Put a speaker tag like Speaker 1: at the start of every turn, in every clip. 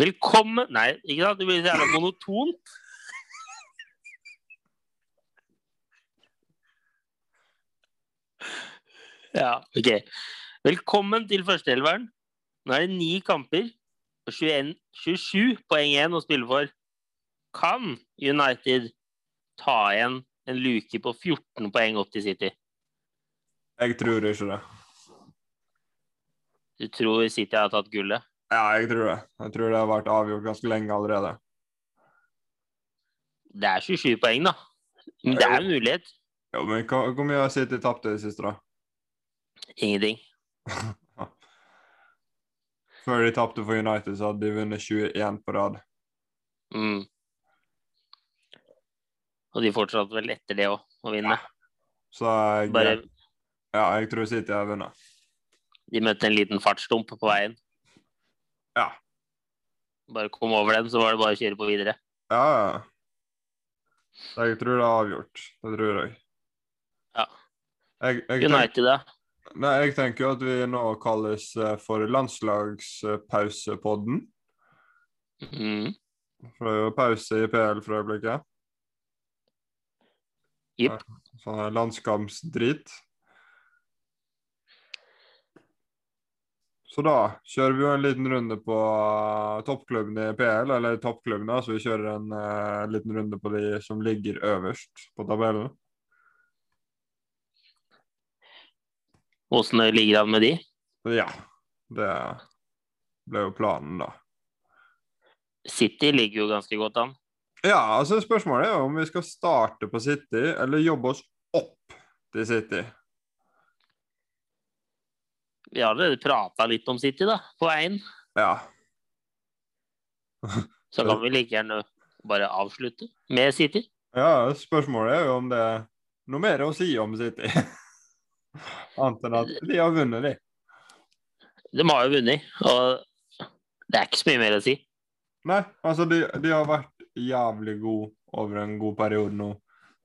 Speaker 1: Velkommen Nei, ikke sant? Det blir så jævla monotont. Ja, ok. Velkommen til førsteelveren. Nå er det ni kamper og 21, 27 poeng igjen å spille for. Kan United ta igjen en luke på 14 poeng opp til City?
Speaker 2: Jeg tror ikke det.
Speaker 1: Du tror City har tatt gullet?
Speaker 2: Ja, jeg tror det. Jeg tror det har vært avgjort ganske lenge allerede.
Speaker 1: Det er 27 poeng, da. Men det er en mulighet.
Speaker 2: Jo, men hva- hvor mye har City tapt i det siste, da?
Speaker 1: Ingenting.
Speaker 2: Før de tapte for United, så hadde de vunnet 21 på rad.
Speaker 1: Mm. Og de fortsatte vel etter det òg, å vinne.
Speaker 2: Så jeg,
Speaker 1: Bare
Speaker 2: ja, jeg tror City har vunnet.
Speaker 1: de møtte en liten fartsdump på veien.
Speaker 2: Ja.
Speaker 1: Bare kom over den, så var det bare å kjøre på videre.
Speaker 2: Ja, ja. Så Jeg tror det er avgjort. Det tror jeg.
Speaker 1: Ja.
Speaker 2: Jeg, jeg, tenker,
Speaker 1: United, da.
Speaker 2: nei, jeg tenker jo at vi nå kalles eh, for landslagspausepodden.
Speaker 1: Mm.
Speaker 2: For det er jo pause i PL for øyeblikket.
Speaker 1: Jipp.
Speaker 2: Sånn her landskampsdrit. Så da kjører vi jo en liten runde på eh, toppklubben i PL, eller toppklubben, da, så vi kjører en eh, liten runde på de som ligger øverst på tabellen.
Speaker 1: Åssen det ligger an med de.
Speaker 2: Ja, det ble jo planen, da.
Speaker 1: City ligger jo ganske godt an.
Speaker 2: Ja, altså spørsmålet er jo om vi skal starte på City, eller jobbe oss opp til City.
Speaker 1: Vi har allerede prata litt om City, da, på veien.
Speaker 2: Ja.
Speaker 1: Så kan vi like gjerne bare avslutte med City.
Speaker 2: ja, spørsmålet er jo om det er noe mer å si om City. Annet enn at de har vunnet, de.
Speaker 1: De har jo vunnet, og det er ikke så mye mer å si.
Speaker 2: Nei, altså de, de har vært jævlig gode over en god periode nå.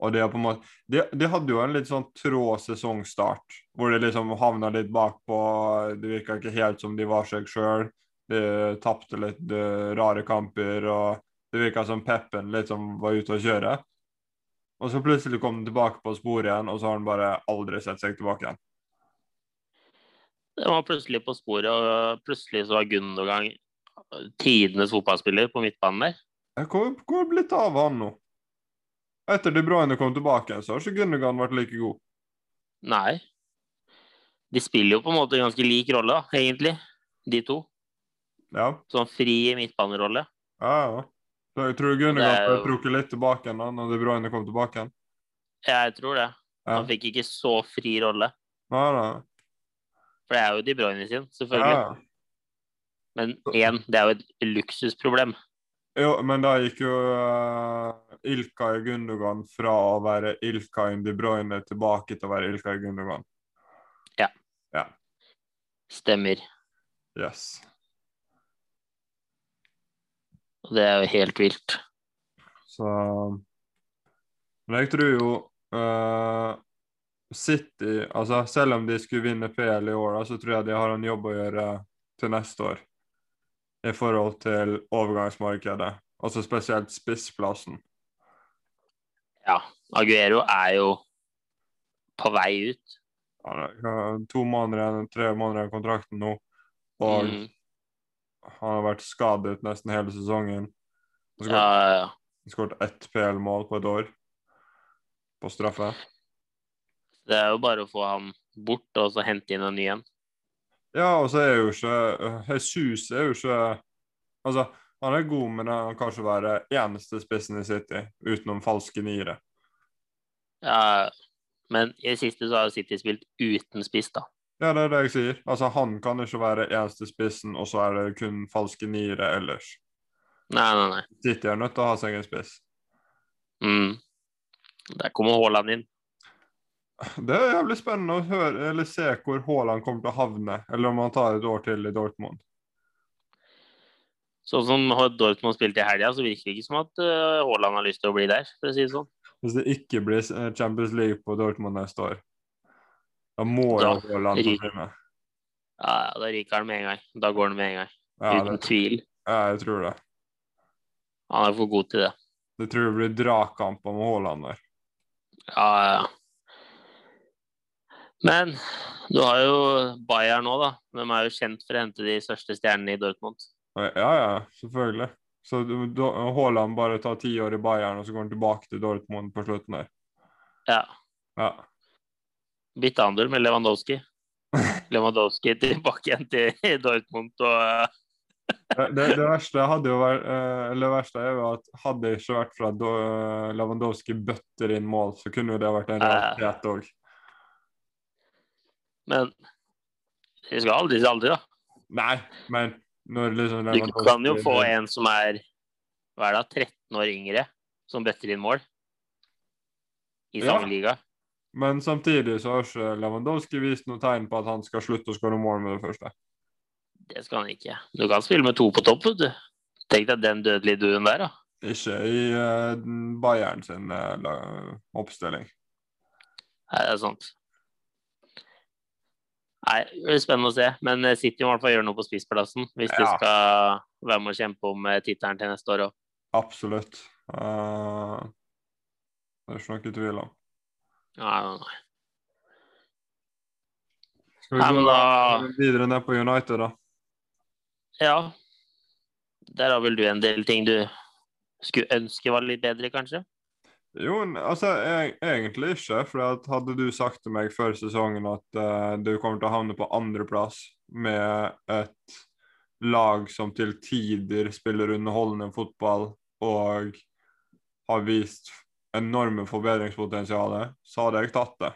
Speaker 2: Og de har på en måte De, de hadde jo en litt sånn trå sesongstart, hvor de liksom havna litt bakpå. Det virka ikke helt som de var seg sjøl. De tapte litt eh, rare kamper, og det virka som Peppen liksom var ute å kjøre. Og så plutselig kom han tilbake på sporet igjen, og så har han bare aldri sett seg tilbake igjen.
Speaker 1: De var plutselig på sporet, og plutselig så var Gundogan tidenes fotballspiller på midtbanen der.
Speaker 2: Eh, Hvor, hvor er det blitt av han nå? Etter De Bruyne kom tilbake, igjen, så har ikke Gundogan vært like god.
Speaker 1: Nei. De spiller jo på en måte en ganske lik rolle, da, egentlig, de to.
Speaker 2: Ja.
Speaker 1: Sånn fri midtbanerolle.
Speaker 2: Ja, ja. Så jeg tror
Speaker 1: Det er
Speaker 2: Gunnegaard
Speaker 1: jo-
Speaker 2: trukket litt tilbake igjen da når De Bruyne kom tilbake igjen.
Speaker 1: Jeg tror det.
Speaker 2: Ja.
Speaker 1: Han fikk ikke så fri rolle,
Speaker 2: Nei, nei.
Speaker 1: for det er jo De Bruyne sin,
Speaker 2: Ja,
Speaker 1: selvfølgelig.
Speaker 2: ja.
Speaker 1: Men igjen, det er jo et luksusproblem.
Speaker 2: Jo, men da gikk jo uh, Ilkay Gundogan fra å være Ilkay De Bruyne tilbake til å være Ilkay Gundogan.
Speaker 1: Stemmer.
Speaker 2: Yes.
Speaker 1: Og det er jo helt vilt.
Speaker 2: Så Men jeg tror jo eh, City Altså, selv om de skulle vinne PL i år, da, så tror jeg de har en jobb å gjøre til neste år i forhold til overgangsmarkedet, altså spesielt spissplassen.
Speaker 1: Ja. Aguero er jo på vei ut.
Speaker 2: Han har to måneder igjen, tre måneder igjen av kontrakten nå, og
Speaker 1: Mm.
Speaker 2: han har vært skadet nesten hele sesongen. Han skåret-
Speaker 1: Ja, ja, ja.
Speaker 2: han skåret ett PL-mål på et år på straffe.
Speaker 1: Det er jo bare å få ham bort, og så hente inn en ny en.
Speaker 2: Ja, og så er jo ikke øh, Jesus er jo ikke Altså, han er god, men han kan ikke være eneste spissen i City utenom falske niere.
Speaker 1: Ja, men i det siste så har jo City spilt uten spiss, da.
Speaker 2: Ja, det er det jeg sier. Altså, han kan ikke være eneste spissen, og så er det kun falske niere ellers.
Speaker 1: Nei, nei, nei.
Speaker 2: City er nødt til å ha seg en spiss.
Speaker 1: Mm. Der kommer Haaland inn.
Speaker 2: Det er jævlig spennende å høre eller se hvor Haaland kommer til å havne, eller om han tar et år til i Dortmund.
Speaker 1: Sånn som Dortmund spilte i helga, så virker det ikke som at eh, Haaland har lyst til å bli der, for å si det sånn.
Speaker 2: Hvis det ikke blir eh, Champions League på Dortmund neste år, da må jo
Speaker 1: Da
Speaker 2: Haaland
Speaker 1: ryker-
Speaker 2: forsvinne.
Speaker 1: Ja, ja, Da ryker han med en gang. Da går han med en gang.
Speaker 2: Ja,
Speaker 1: Uten
Speaker 2: det,
Speaker 1: tvil.
Speaker 2: Ja, jeg tror det.
Speaker 1: Han er for god til det.
Speaker 2: Det tror jeg blir dragkamper med Haaland der.
Speaker 1: Ja, ja, ja. Men du har jo Bayern nå, da. De er jo kjent for å hente de største stjernene i Dortmund.
Speaker 2: Ja, ja, selvfølgelig. Så du- da- Haaland bare tar ti år i Bayern, og så går han tilbake til Dortmund på slutten der.
Speaker 1: Ja.
Speaker 2: Ja.
Speaker 1: Byttehandel med Lewandowski. Lewandowski tilbake igjen til Dortmund og eh,
Speaker 2: Det, det, det verste hadde jo vært eh, Eller det verste er jo at hadde det ikke vært for at Do- Lewandowski bøtter inn mål, så kunne jo det vært en
Speaker 1: Ja.
Speaker 2: realitet òg.
Speaker 1: Men vi skal aldri si aldri, da.
Speaker 2: Nei, men når liksom
Speaker 1: Du kan jo få en som er hva er det, 13 år yngre, som bøtter inn mål i
Speaker 2: Ja.
Speaker 1: samme liga.
Speaker 2: Men samtidig så har ikke Lewandowski vist noe tegn på at han skal slutte å skåre mål med det første.
Speaker 1: Det skal han ikke. Du kan spille med to på topp, vet du. Tenk deg den dødelige duen der, da.
Speaker 2: Ikke i eh, den Bayern sin eh, la- oppstilling.
Speaker 1: Nei, det er sant. Nei, det blir spennende å se. Men eh, City må i hvert fall gjøre noe på spissplassen hvis de
Speaker 2: Ja.
Speaker 1: skal være med og kjempe om eh, tittelen til neste år òg.
Speaker 2: Absolutt. Eh, det er ikke noe tvil om.
Speaker 1: Nei, nei, nei.
Speaker 2: Skal vi
Speaker 1: Nei, men
Speaker 2: gå
Speaker 1: da-
Speaker 2: videre ned på United, da?
Speaker 1: Ja. Der har vel du en del ting du skulle ønske var litt bedre, kanskje?
Speaker 2: Jo, n- altså e- egentlig ikke. For hadde du sagt til meg før sesongen at eh, du kommer til å havne på andreplass med et lag som til tider spiller underholdende fotball og har vist enorme forbedringspotensialet, så hadde jeg tatt det.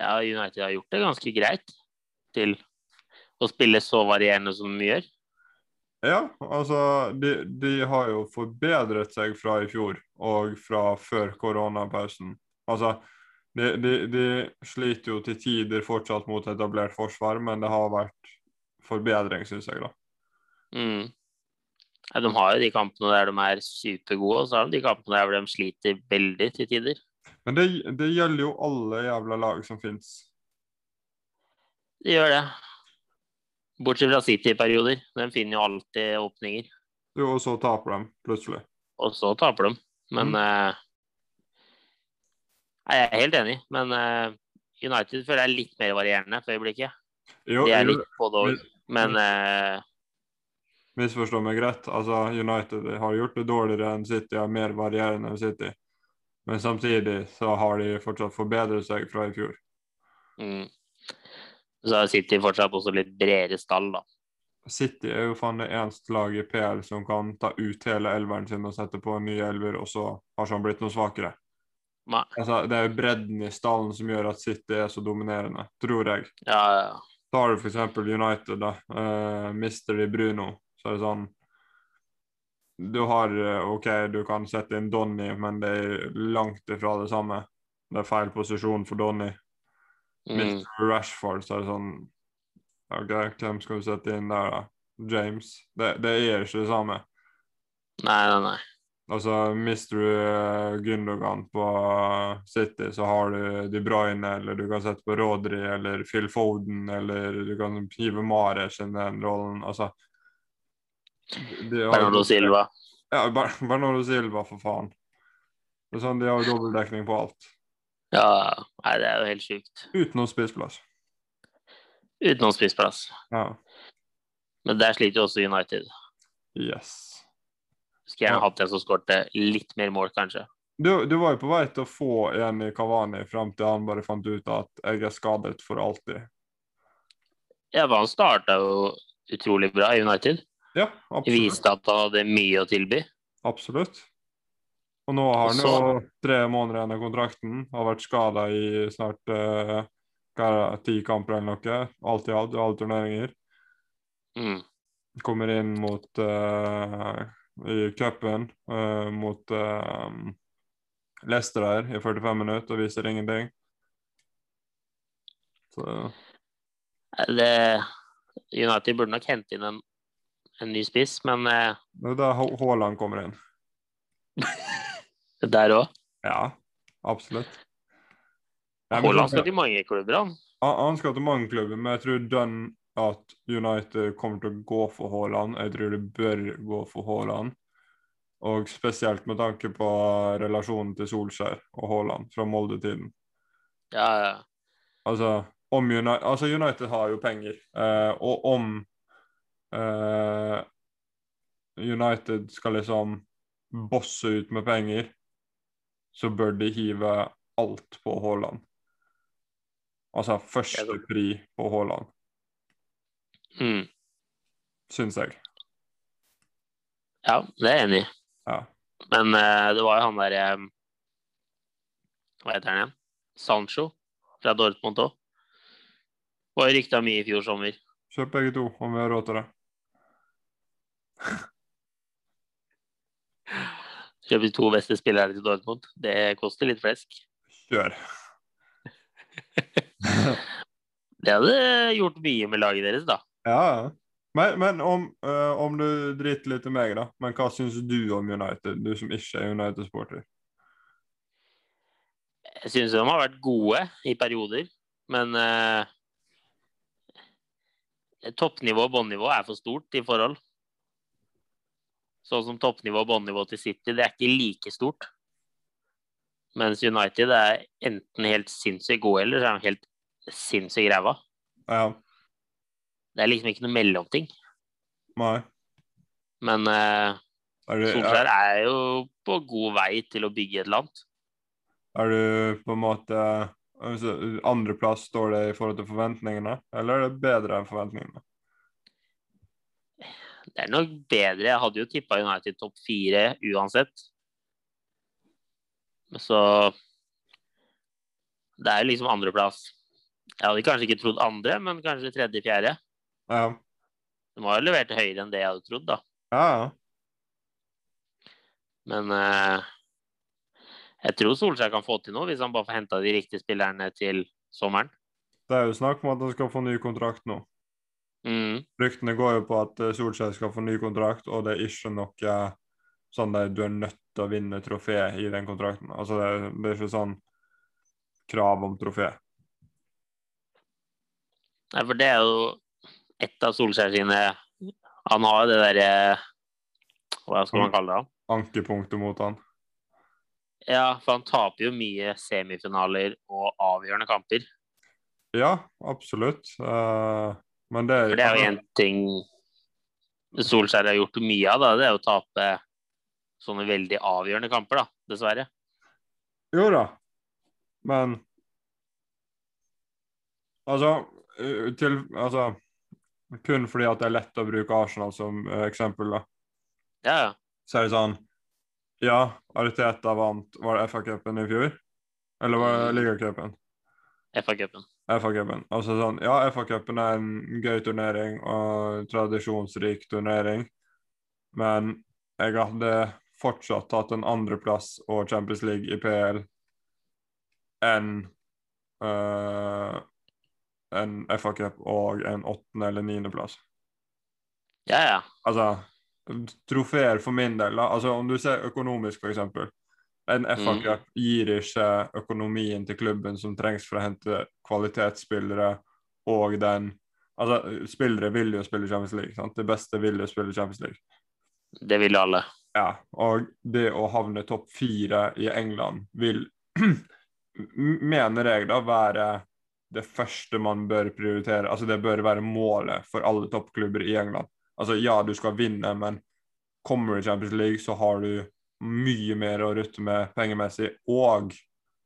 Speaker 1: Ja, United har gjort det ganske greit til å spille så varierende som de gjør.
Speaker 2: Ja, altså de, de har jo forbedret seg fra i fjor og fra før koronapausen. Altså, de, de, de sliter jo til tider fortsatt mot etablert forsvar, men det har vært forbedring, syns jeg, da.
Speaker 1: Mm. Ja, de har jo de kampene der de er supergode, og så har de de kampene der hvor de sliter veldig til tider.
Speaker 2: Men det, det gjelder jo alle jævla lag som fins.
Speaker 1: De gjør det. Bortsett fra City-perioder. De finner jo alltid åpninger,
Speaker 2: Jo, og så taper de plutselig.
Speaker 1: og så taper de. Men
Speaker 2: Mm.
Speaker 1: eh, nei, Jeg er helt enig, men eh, United føler jeg er litt mer varierende for øyeblikket.
Speaker 2: Jo,
Speaker 1: De er
Speaker 2: jo,
Speaker 1: litt både og, men eh,
Speaker 2: misforstå meg rett. Altså, United har gjort det dårligere enn City, er mer varierende enn City. Men samtidig så har de fortsatt forbedret seg fra i fjor.
Speaker 1: mm. Så har City fortsatt også litt bredere stall, da.
Speaker 2: City er jo faen det eneste laget i PL som kan ta ut hele elveren sin og sette på en ny elver, og så har ikke han blitt noe svakere.
Speaker 1: Nei.
Speaker 2: Altså, det er jo bredden i stallen som gjør at City er så dominerende, tror jeg.
Speaker 1: Ja, ja.
Speaker 2: Tar du for eksempel United, da, eh, mister de Bruno, så er det sånn Du har eh, OK, du kan sette inn Donny, men det er langt ifra det samme. Det er feil posisjon for Donny.
Speaker 1: Mm.
Speaker 2: Mister du Rashford, så er det sånn OK, hvem skal vi sette inn der, da? James? Det, det er ikke det samme.
Speaker 1: Nei, nei, nei.
Speaker 2: Altså, mister du eh, Gündogan på City, så har du De Bruyne, eller du kan sette på Rodri eller Phil Foden, eller du kan hive Mares inn i den rollen. Altså de- de har-
Speaker 1: Bernardo Silva.
Speaker 2: Ja, Ber- Bernardo Silva, for faen. Det er sånn, De har jo dobbeltdekning på alt.
Speaker 1: Ja, ja. nei, det er jo helt sjukt.
Speaker 2: Utenom spissplass.
Speaker 1: Utenom spissplass.
Speaker 2: Ja.
Speaker 1: Men der sliter jo også United.
Speaker 2: Yes.
Speaker 1: Skulle
Speaker 2: Ja.
Speaker 1: gjerne hatt en som skårte litt mer mål, kanskje.
Speaker 2: Du, du var jo på vei til å få en i Kavani fram til han bare fant ut at jeg er skadet for alltid.
Speaker 1: Ja, for han starta jo utrolig bra i United.
Speaker 2: Ja, absolutt.
Speaker 1: Viste at han hadde mye å tilby.
Speaker 2: absolutt. Og nå har han jo
Speaker 1: Så-
Speaker 2: tre måneder igjen av kontrakten, har vært skada i snart eh, hva er det, ti kamper eller noe. Alt i alt, i alle turneringer.
Speaker 1: Mm.
Speaker 2: Kommer inn mot eh, i cupen eh, mot uh, Leicester her i 45 minutter og viser ingenting. Så
Speaker 1: Det, United burde nok hente inn en, en ny spiss, men eh,
Speaker 2: det er der Ha- Haaland kommer inn.
Speaker 1: der òg.
Speaker 2: Ja, absolutt. Nei, men
Speaker 1: Haaland
Speaker 2: sånn-
Speaker 1: skal til mange klubber, han.
Speaker 2: han, han skal til mange klubber, men jeg tror Dunn at United kommer til å gå for Haaland. Jeg tror de bør gå for Haaland. Og spesielt med tanke på relasjonen til Solskjær og Haaland fra Molde-tiden.
Speaker 1: Ja, ja.
Speaker 2: Altså, om United, altså United har jo penger, eh, og om eh, United skal liksom bosse ut med penger, så bør de hive alt på Haaland. Altså første
Speaker 1: Jeg
Speaker 2: pri på Haaland,
Speaker 1: Mm.
Speaker 2: syns jeg.
Speaker 1: ja det er jeg enig i.
Speaker 2: Ja.
Speaker 1: Men eh, det var jo han derre Hva heter han igjen? Sancho fra Dortmund òg. Var jo rykta mye i fjor sommer.
Speaker 2: Kjøp begge to, om vi har råd til det.
Speaker 1: Kjøper de to beste spillerne til Dortmund. Det koster litt flesk.
Speaker 2: Kjør.
Speaker 1: Det hadde gjort mye med laget deres, da.
Speaker 2: Ja, ja. Men, men om, eh, om du driter litt i meg, da. Men hva syns du om United, du som ikke er United-sporter?
Speaker 1: Jeg syns de har vært gode i perioder, men eh, toppnivå og båndnivå er for stort i forhold. Sånn som toppnivå og båndnivå til City, det er ikke like stort. Mens United er enten helt sinnssykt gode, eller så er de helt sinnssykt ræva.
Speaker 2: Ja.
Speaker 1: Det er liksom ikke noe mellomting.
Speaker 2: Nei.
Speaker 1: Men eh,
Speaker 2: Er du, er,
Speaker 1: Solskjær er jo på god vei til å bygge et land.
Speaker 2: er du på en måte altså, Andreplass står det i forhold til forventningene, eller er det bedre enn forventningene?
Speaker 1: Det er nok bedre. Jeg hadde jo tippa United topp fire uansett. Så det er jo liksom andreplass. Jeg hadde kanskje ikke trodd andre, men kanskje tredje-fjerde.
Speaker 2: Ja.
Speaker 1: De har jo levert høyere enn det jeg hadde trodd, da.
Speaker 2: Ja, ja.
Speaker 1: Men eh, jeg tror Solskjær kan få til noe, hvis han bare får henta de riktige spillerne til sommeren.
Speaker 2: Det er jo snakk om at han skal få ny kontrakt nå.
Speaker 1: Mm.
Speaker 2: Ryktene går jo på at eh, Solskjær skal få ny kontrakt, og det er ikke noe sånn der du er nødt til å vinne trofé i den kontrakten. Altså, det er, det er ikke sånn krav om trofé.
Speaker 1: Nei, for det er jo ett av Solskjær sine Han har jo det derre Hva skal man kalle det?
Speaker 2: Ankepunktet mot han.
Speaker 1: Ja, for han taper jo mye semifinaler og avgjørende kamper.
Speaker 2: Ja, absolutt. Eh, men det er,
Speaker 1: For det er jo én ting Solskjær har gjort mye av, da. Det er jo å tape sånne veldig avgjørende kamper, da. Dessverre.
Speaker 2: Jo da, men Altså, eh, til, altså Kun fordi at det er lett å bruke Arsenal som eh, eksempel, da.
Speaker 1: Ja, ja.
Speaker 2: Så er det sånn Ja, Ariteta vant Var det FA-cupen i fjor? Eller var
Speaker 1: Mm.
Speaker 2: det ligacupen?
Speaker 1: FA-cupen.
Speaker 2: FA-cupen. Altså sånn Ja, FA-cupen er en gøy turnering og en tradisjonsrik turnering, men jeg hadde fortsatt tatt en andreplass og Champions League i PL enn eh, en FA-cup og en åttende- eller niendeplass.
Speaker 1: Ja, ja.
Speaker 2: Altså, trofeer for min del, da. Altså, om du ser økonomisk, for eksempel. En FA-cup gir ikke økonomien til klubben som trengs for å hente kvalitetsspillere og den Altså, spillere vil jo spille Champions League, sant? De beste vil jo spille Champions League.
Speaker 1: Det vil alle.
Speaker 2: Ja, og det å havne topp fire i England vil, mener jeg da, være det første man bør prioritere. Altså det bør være målet for alle toppklubber i England. Altså ja, du skal vinne, men kommer du i Champions League, så har du mye mer å rutte med pengemessig, og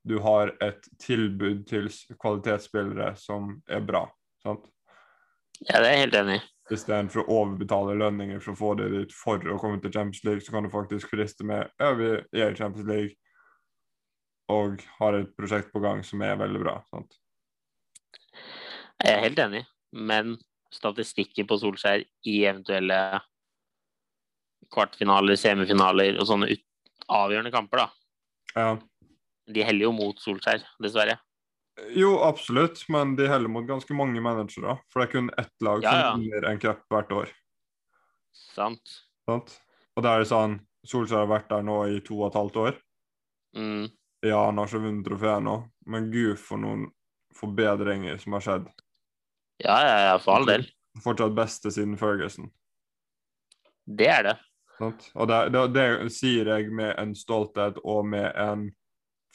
Speaker 2: du har et tilbud til s- kvalitetsspillere som er bra. sant?
Speaker 1: Ja, det er jeg helt enig i.
Speaker 2: Istedenfor å overbetale lønninger for å få det dit for å komme til Champions League, så kan du faktisk friste med ja, vi er i Champions League og har et prosjekt på gang som er veldig bra. Sant?
Speaker 1: Jeg er helt enig. Men statistikken på Solskjær i eventuelle kvartfinaler, semifinaler og sånne ut avgjørende kamper, da.
Speaker 2: Ja.
Speaker 1: De heller jo mot Solskjær, dessverre.
Speaker 2: Jo, absolutt, men de heller mot ganske mange managere. For det er kun ett lag
Speaker 1: Ja, ja.
Speaker 2: som vinner en cup hvert år.
Speaker 1: Sant?
Speaker 2: Sant? Og da er det sånn Solskjær har vært der nå i to og et halvt år.
Speaker 1: Mm.
Speaker 2: Ja, han har ikke vunnet trofeet nå, men gud for noen forbedringer som har skjedd.
Speaker 1: Ja, ja, ja, for all del.
Speaker 2: Fortsatt beste siden Ferguson.
Speaker 1: Det er det.
Speaker 2: Sant? Og det, det, det sier jeg med en stolthet og med en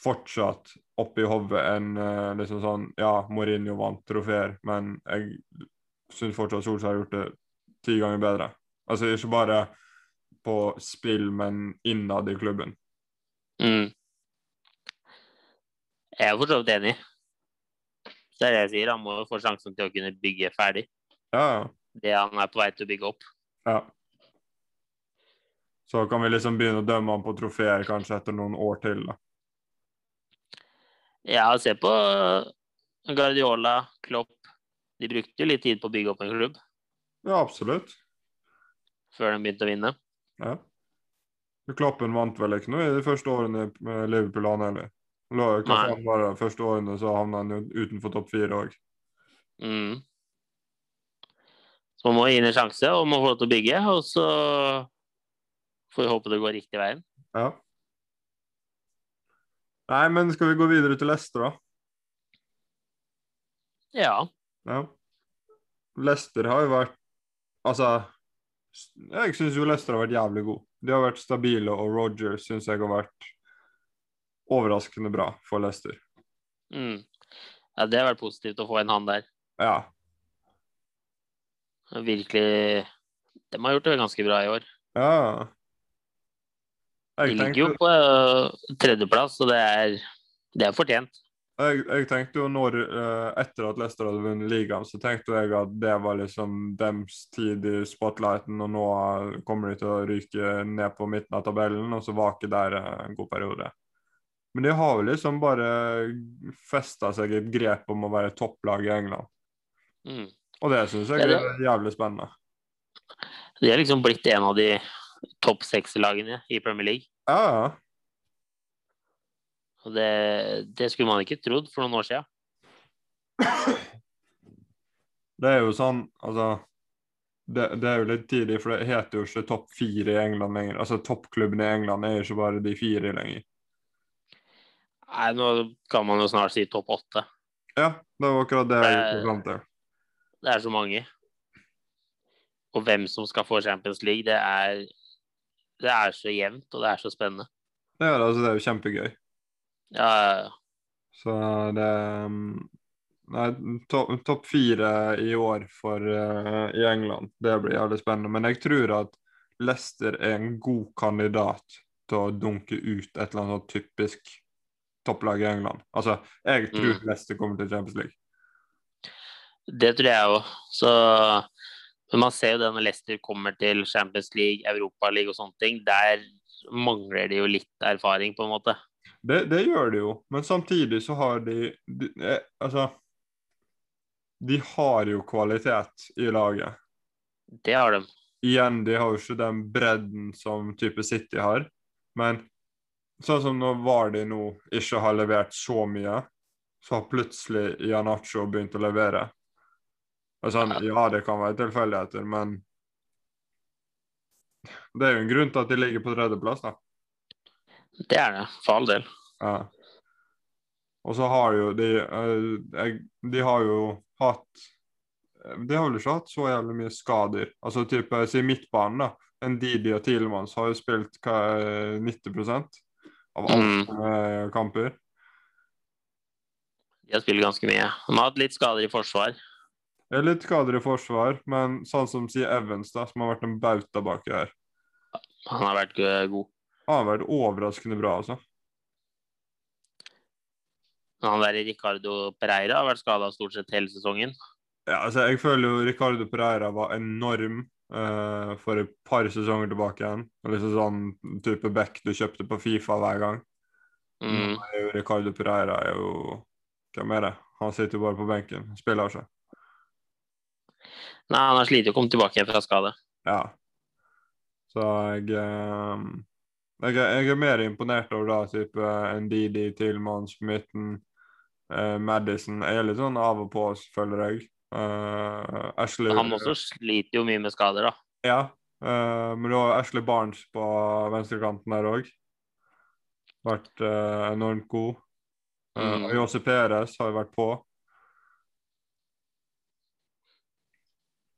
Speaker 2: fortsatt oppi hodet en eh, liksom sånn Ja, Mourinho vant trofeer, men jeg syns fortsatt Solskjær har gjort det ti ganger bedre. Altså ikke bare på spill, men innad i klubben.
Speaker 1: Mm. Jeg er for så vidt enig. Det er det jeg sier. Han må jo få sjansen til å kunne bygge ferdig
Speaker 2: Ja, ja.
Speaker 1: det han er på vei til å bygge opp.
Speaker 2: Ja. Så kan vi liksom begynne å dømme han på trofeer kanskje etter noen år til. da.
Speaker 1: Ja, se på Guardiola, Klopp. De brukte jo litt tid på å bygge opp en klubb
Speaker 2: Ja, absolutt.
Speaker 1: før de begynte å vinne.
Speaker 2: Ja. Kloppen vant vel ikke noe i de første årene med Liverpool, han heller. Hva
Speaker 1: Nei.
Speaker 2: faen var det? Første årene så havna han jo utenfor topp fire òg.
Speaker 1: Mm. Så man må gi den en sjanse, og man får lov til å bygge. Og så får vi håpe det går riktig veien.
Speaker 2: Ja. Nei, men skal vi gå videre til Leicester, da?
Speaker 1: Ja.
Speaker 2: Ja. Leicester har jo vært Altså, s- jeg syns jo Leicester har vært jævlig god. De har vært stabile, og Roger syns jeg har vært overraskende bra for Leicester.
Speaker 1: Mm. ja. Det har vært positivt å få en han der.
Speaker 2: Ja.
Speaker 1: Virkelig De har gjort det ganske bra i år.
Speaker 2: ja.
Speaker 1: De
Speaker 2: Jeg,
Speaker 1: ligger jo
Speaker 2: tenkte,
Speaker 1: på øh, tredjeplass, og det er, det er fortjent.
Speaker 2: jeg, jeg tenkte jo når eh, Etter at Leicester hadde vunnet ligaen, så tenkte jeg at det var liksom dems tid i spotlighten, og nå eh, kommer de til å ryke ned på midten av tabellen, og så vake der eh, en god periode. Men de har jo liksom bare festa seg i et grep om å være topplag i England.
Speaker 1: Mm.
Speaker 2: Og det syns jeg
Speaker 1: Det er
Speaker 2: er jævlig spennende.
Speaker 1: De er liksom blitt en av de topp seks-lagene i Premier League.
Speaker 2: Ja, ja.
Speaker 1: Og det, det skulle man ikke trodd for noen år siden.
Speaker 2: Det er jo sånn, altså det, det er jo litt tidlig, for det heter jo ikke topp fire i England lenger. Altså Toppklubben i England er jo ikke bare de fire lenger.
Speaker 1: Nei, nå kan man jo snart si topp åtte.
Speaker 2: Ja, det var akkurat det jeg gikk fram til.
Speaker 1: Det er så mange. Og hvem som skal få Champions League, det er, det er så jevnt, og det er så spennende.
Speaker 2: Ja, altså, det er jo kjempegøy.
Speaker 1: Ja, ja,
Speaker 2: Så det um, Nei, to, topp fire i år for, eh, i England, det blir jævlig spennende. Men jeg tror at Leicester er en god kandidat til å dunke ut et eller annet sånn typisk topplag i England. Altså, jeg tror
Speaker 1: Mm.
Speaker 2: Leicester kommer til Champions League.
Speaker 1: det tror jeg òg. Så Men man ser jo det når Leicester kommer til Champions League, Europaliga og sånne ting. Der mangler de jo litt erfaring, på en måte.
Speaker 2: Det, det gjør de jo, men samtidig så har de, de eh, Altså De har jo kvalitet i laget.
Speaker 1: Det har de.
Speaker 2: Igjen, de har jo ikke den bredden som type City har, men sånn som når Vardy nå ikke har levert så mye, så har plutselig Ianacho begynt å levere. Og sånn, ja, det kan være tilfeldigheter, men det er jo en grunn til at de ligger på tredjeplass, da.
Speaker 1: Det er det, for all del.
Speaker 2: Ja. Og så har jo de eh, jeg, De har jo hatt eh, De har vel ikke hatt så jævlig mye skader. Altså type Si midtbanen, da. Ndidi og Tilemans har jo spilt hva, eh, 90 av alle
Speaker 1: Mm.
Speaker 2: eh, kamper.
Speaker 1: De har spilt ganske mye. De har hatt litt skader i forsvar.
Speaker 2: Det er litt skader i forsvar, men sånn som si Evans, da, som har vært en bauta baki her,
Speaker 1: Han har vært eh, god.
Speaker 2: han har vært overraskende bra, altså.
Speaker 1: Men Han der Ricardo Pereira har vært skada stort sett hele sesongen.
Speaker 2: Ja, altså, jeg føler jo Ricardo Pereira var enorm eh, for et par sesonger tilbake igjen. Og liksom sånn type back du kjøpte på Fifa hver gang.
Speaker 1: Mm.
Speaker 2: Nå er jo Ricardo Pereira er jo Hvem er det? Han sitter jo bare på benken. Spiller altså. ikke.
Speaker 1: Nei, han har slitt å komme tilbake fra skade.
Speaker 2: Ja. Så jeg eh, jeg, er- jeg er mer imponert over da type Ndidi, Tilmanns på midten. eh, Madison er litt sånn av og på, føler jeg. Eh, Ashley
Speaker 1: Han også sliter jo mye med skader, da.
Speaker 2: Ja, eh, men du har Ashley Barnes på venstrekanten der òg. Vært eh, enormt god. Eh,
Speaker 1: Mm.
Speaker 2: og Jose Perez har jo vært på.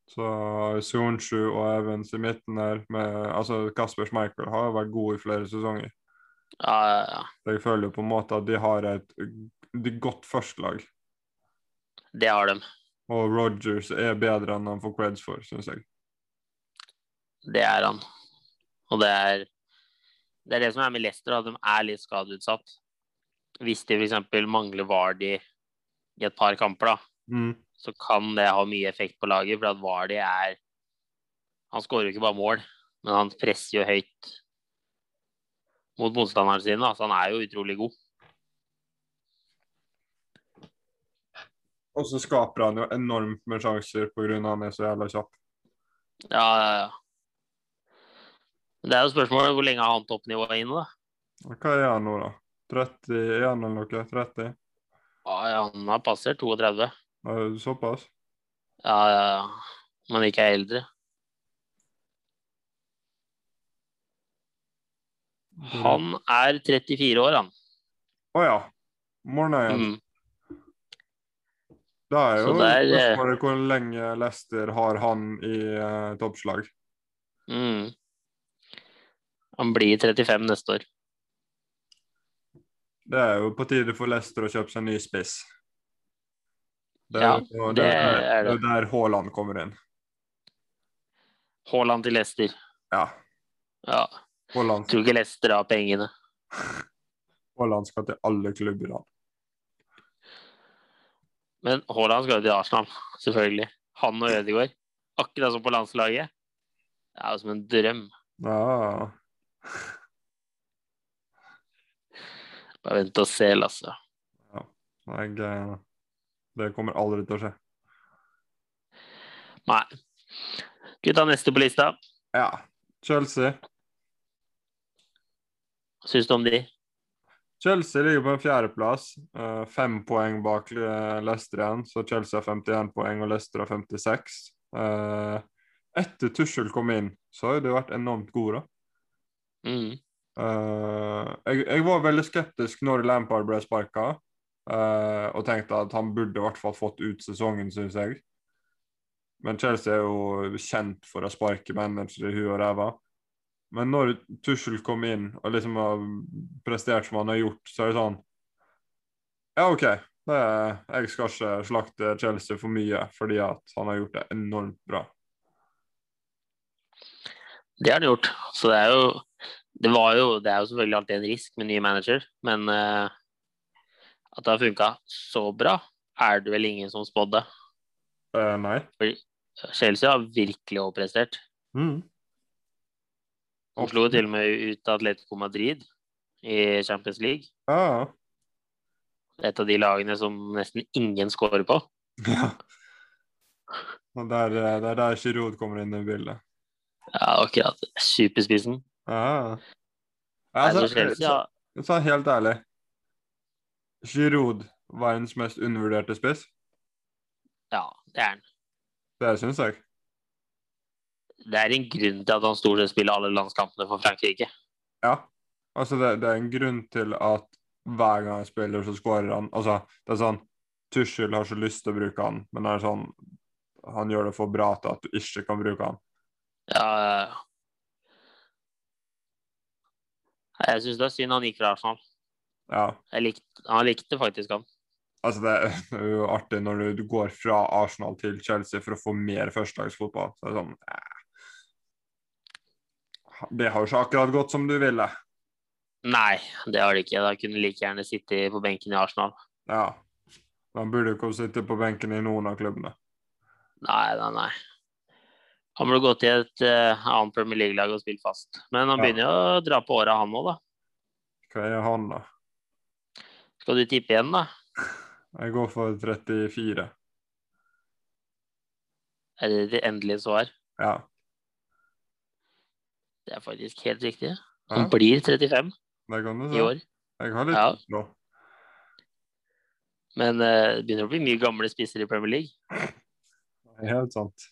Speaker 2: Så Sonsju og Evans i midten der med, Altså Kasper Schmeichel har jo vært god i flere sesonger.
Speaker 1: Ja, ja, ja.
Speaker 2: Så Jeg føler jo på en måte at de har et de godt førstelag.
Speaker 1: Det har de.
Speaker 2: Og Rogers er bedre enn han får creds for, syns jeg.
Speaker 1: Det er han. Og det er det, er det som er med Leicester, at de er litt skadeutsatt. Hvis de f.eks. mangler Vardy i et par kamper, da,
Speaker 2: Mm.
Speaker 1: så kan det ha mye effekt på laget. For at Vardy er Han skårer jo ikke bare mål, men han presser jo høyt mot motstanderen sin. Da. Så han er jo utrolig god.
Speaker 2: Og så skaper han jo enormt med sjanser pga. han er så jævla kjapp.
Speaker 1: Ja, ja, ja. Det er jo spørsmålet hvor lenge har han toppnivået inne, da.
Speaker 2: Og Hva er han nå, da? 31 eller noe? 30?
Speaker 1: Ja, han har passert 32.
Speaker 2: Eh, Såpass?
Speaker 1: Ja, ja, ja. Men ikke er eldre. Han er 34 år, han.
Speaker 2: Å ja. Mornøyen.
Speaker 1: Mm.
Speaker 2: Det er jo
Speaker 1: Så der, eh,
Speaker 2: spørsmålet hvor lenge Leicester har han i eh, toppslag.
Speaker 1: Mm. Han blir 35 neste år.
Speaker 2: Det er jo på tide for Leicester å kjøpe seg ny spiss. Det
Speaker 1: Ja,
Speaker 2: er jo
Speaker 1: det
Speaker 2: der,
Speaker 1: er
Speaker 2: det
Speaker 1: det.
Speaker 2: er der Haaland kommer inn.
Speaker 1: Haaland til Leicester.
Speaker 2: Ja.
Speaker 1: Ja.
Speaker 2: Haaland,
Speaker 1: Tror ikke Leicester har pengene.
Speaker 2: Haaland skal til alle klubber. da.
Speaker 1: Men Haaland skal jo til Arsenal, selvfølgelig. Han og Ødegaard. Akkurat som på landslaget. Det er jo som en drøm.
Speaker 2: Ja.
Speaker 1: Bare vent og se, altså.
Speaker 2: Jeg, eh, det kommer aldri til å skje.
Speaker 1: Nei. Skal vi ta neste på lista?
Speaker 2: Ja. Chelsea.
Speaker 1: Syns du om de?
Speaker 2: Chelsea ligger på en fjerdeplass. eh, Fem poeng bak eh, Leicester igjen, så Chelsea har 51 poeng og Leicester har 56. Eh, Etter Tussel kom inn, så har jo det vært enormt gode. da.
Speaker 1: Mm.
Speaker 2: Eh, jeg, jeg var veldig skeptisk når Lampard ble sparka, og tenkte at han burde i hvert fall fått ut sesongen, syns jeg. Men Chelsea er jo kjent for å sparke managere i huet og ræva. Men når Tuchel kom inn og liksom har prestert som han har gjort, så er det sånn Ja, OK, det er, jeg skal ikke slakte Chelsea for mye fordi at han har gjort det enormt bra.
Speaker 1: Det har han gjort. Så det er jo Det, var jo, det er jo selvfølgelig alltid en risk med ny manager, men eh, at det har funka så bra, er det vel ingen som spådde.
Speaker 2: Eh, nei.
Speaker 1: Chelsea har virkelig overprestert.
Speaker 2: Mm.
Speaker 1: De slo jo til og med ut Atletico Madrid i Champions League.
Speaker 2: Ja,
Speaker 1: Et av de lagene som nesten ingen scorer på.
Speaker 2: Ja. Og der, eh, det er der Giroud kommer inn i bildet.
Speaker 1: Ja, akkurat. Superspissen.
Speaker 2: Ja.
Speaker 1: Altså,
Speaker 2: Altså,
Speaker 1: Chelsea, ja.
Speaker 2: så- så helt ærlig Giroud, verdens mest undervurderte spiss.
Speaker 1: ja, det er han.
Speaker 2: Det syns jeg.
Speaker 1: Det er en grunn til at han stort sett spiller alle landskampene for Frankrike.
Speaker 2: Ja. Altså, det, det er en grunn til at hver gang han spiller, så skårer han. Altså, det er sånn Tuschel har så lyst til å bruke han, men det er sånn Han gjør det for bra til at du ikke kan bruke han.
Speaker 1: Ja, ja, ja. Nei, Jeg syns det er synd han gikk fra Arsenal.
Speaker 2: Ja.
Speaker 1: Jeg likte, han likte faktisk han.
Speaker 2: Altså, det er- det er jo artig når du- du går fra Arsenal til Chelsea for å få mer førstelagsfotball. Så det er sånn eh. Det har jo ikke akkurat gått som du ville.
Speaker 1: Nei, det har det ikke. Da kunne han like gjerne sitte på benken i Arsenal.
Speaker 2: Ja. Man burde jo ikke sitte på benken i noen av klubbene.
Speaker 1: Nei, nei, nei. Han burde gått til et eh, annet Premier League-lag og spilt fast. Men han
Speaker 2: Ja.
Speaker 1: begynner jo å dra på åra, han òg, da.
Speaker 2: Hva er han, da?
Speaker 1: Skal du tippe igjen, da?
Speaker 2: Jeg går for 34.
Speaker 1: Er det ditt endelige svar?
Speaker 2: Ja.
Speaker 1: Det er faktisk helt riktig. Han
Speaker 2: ja.
Speaker 1: blir 35
Speaker 2: Det kan du
Speaker 1: i
Speaker 2: si.
Speaker 1: år.
Speaker 2: Jeg har
Speaker 1: Ja.
Speaker 2: litt tro. nå.
Speaker 1: Men eh, det begynner å bli mye gamle spisser i Premier League.
Speaker 2: Det er Helt sant.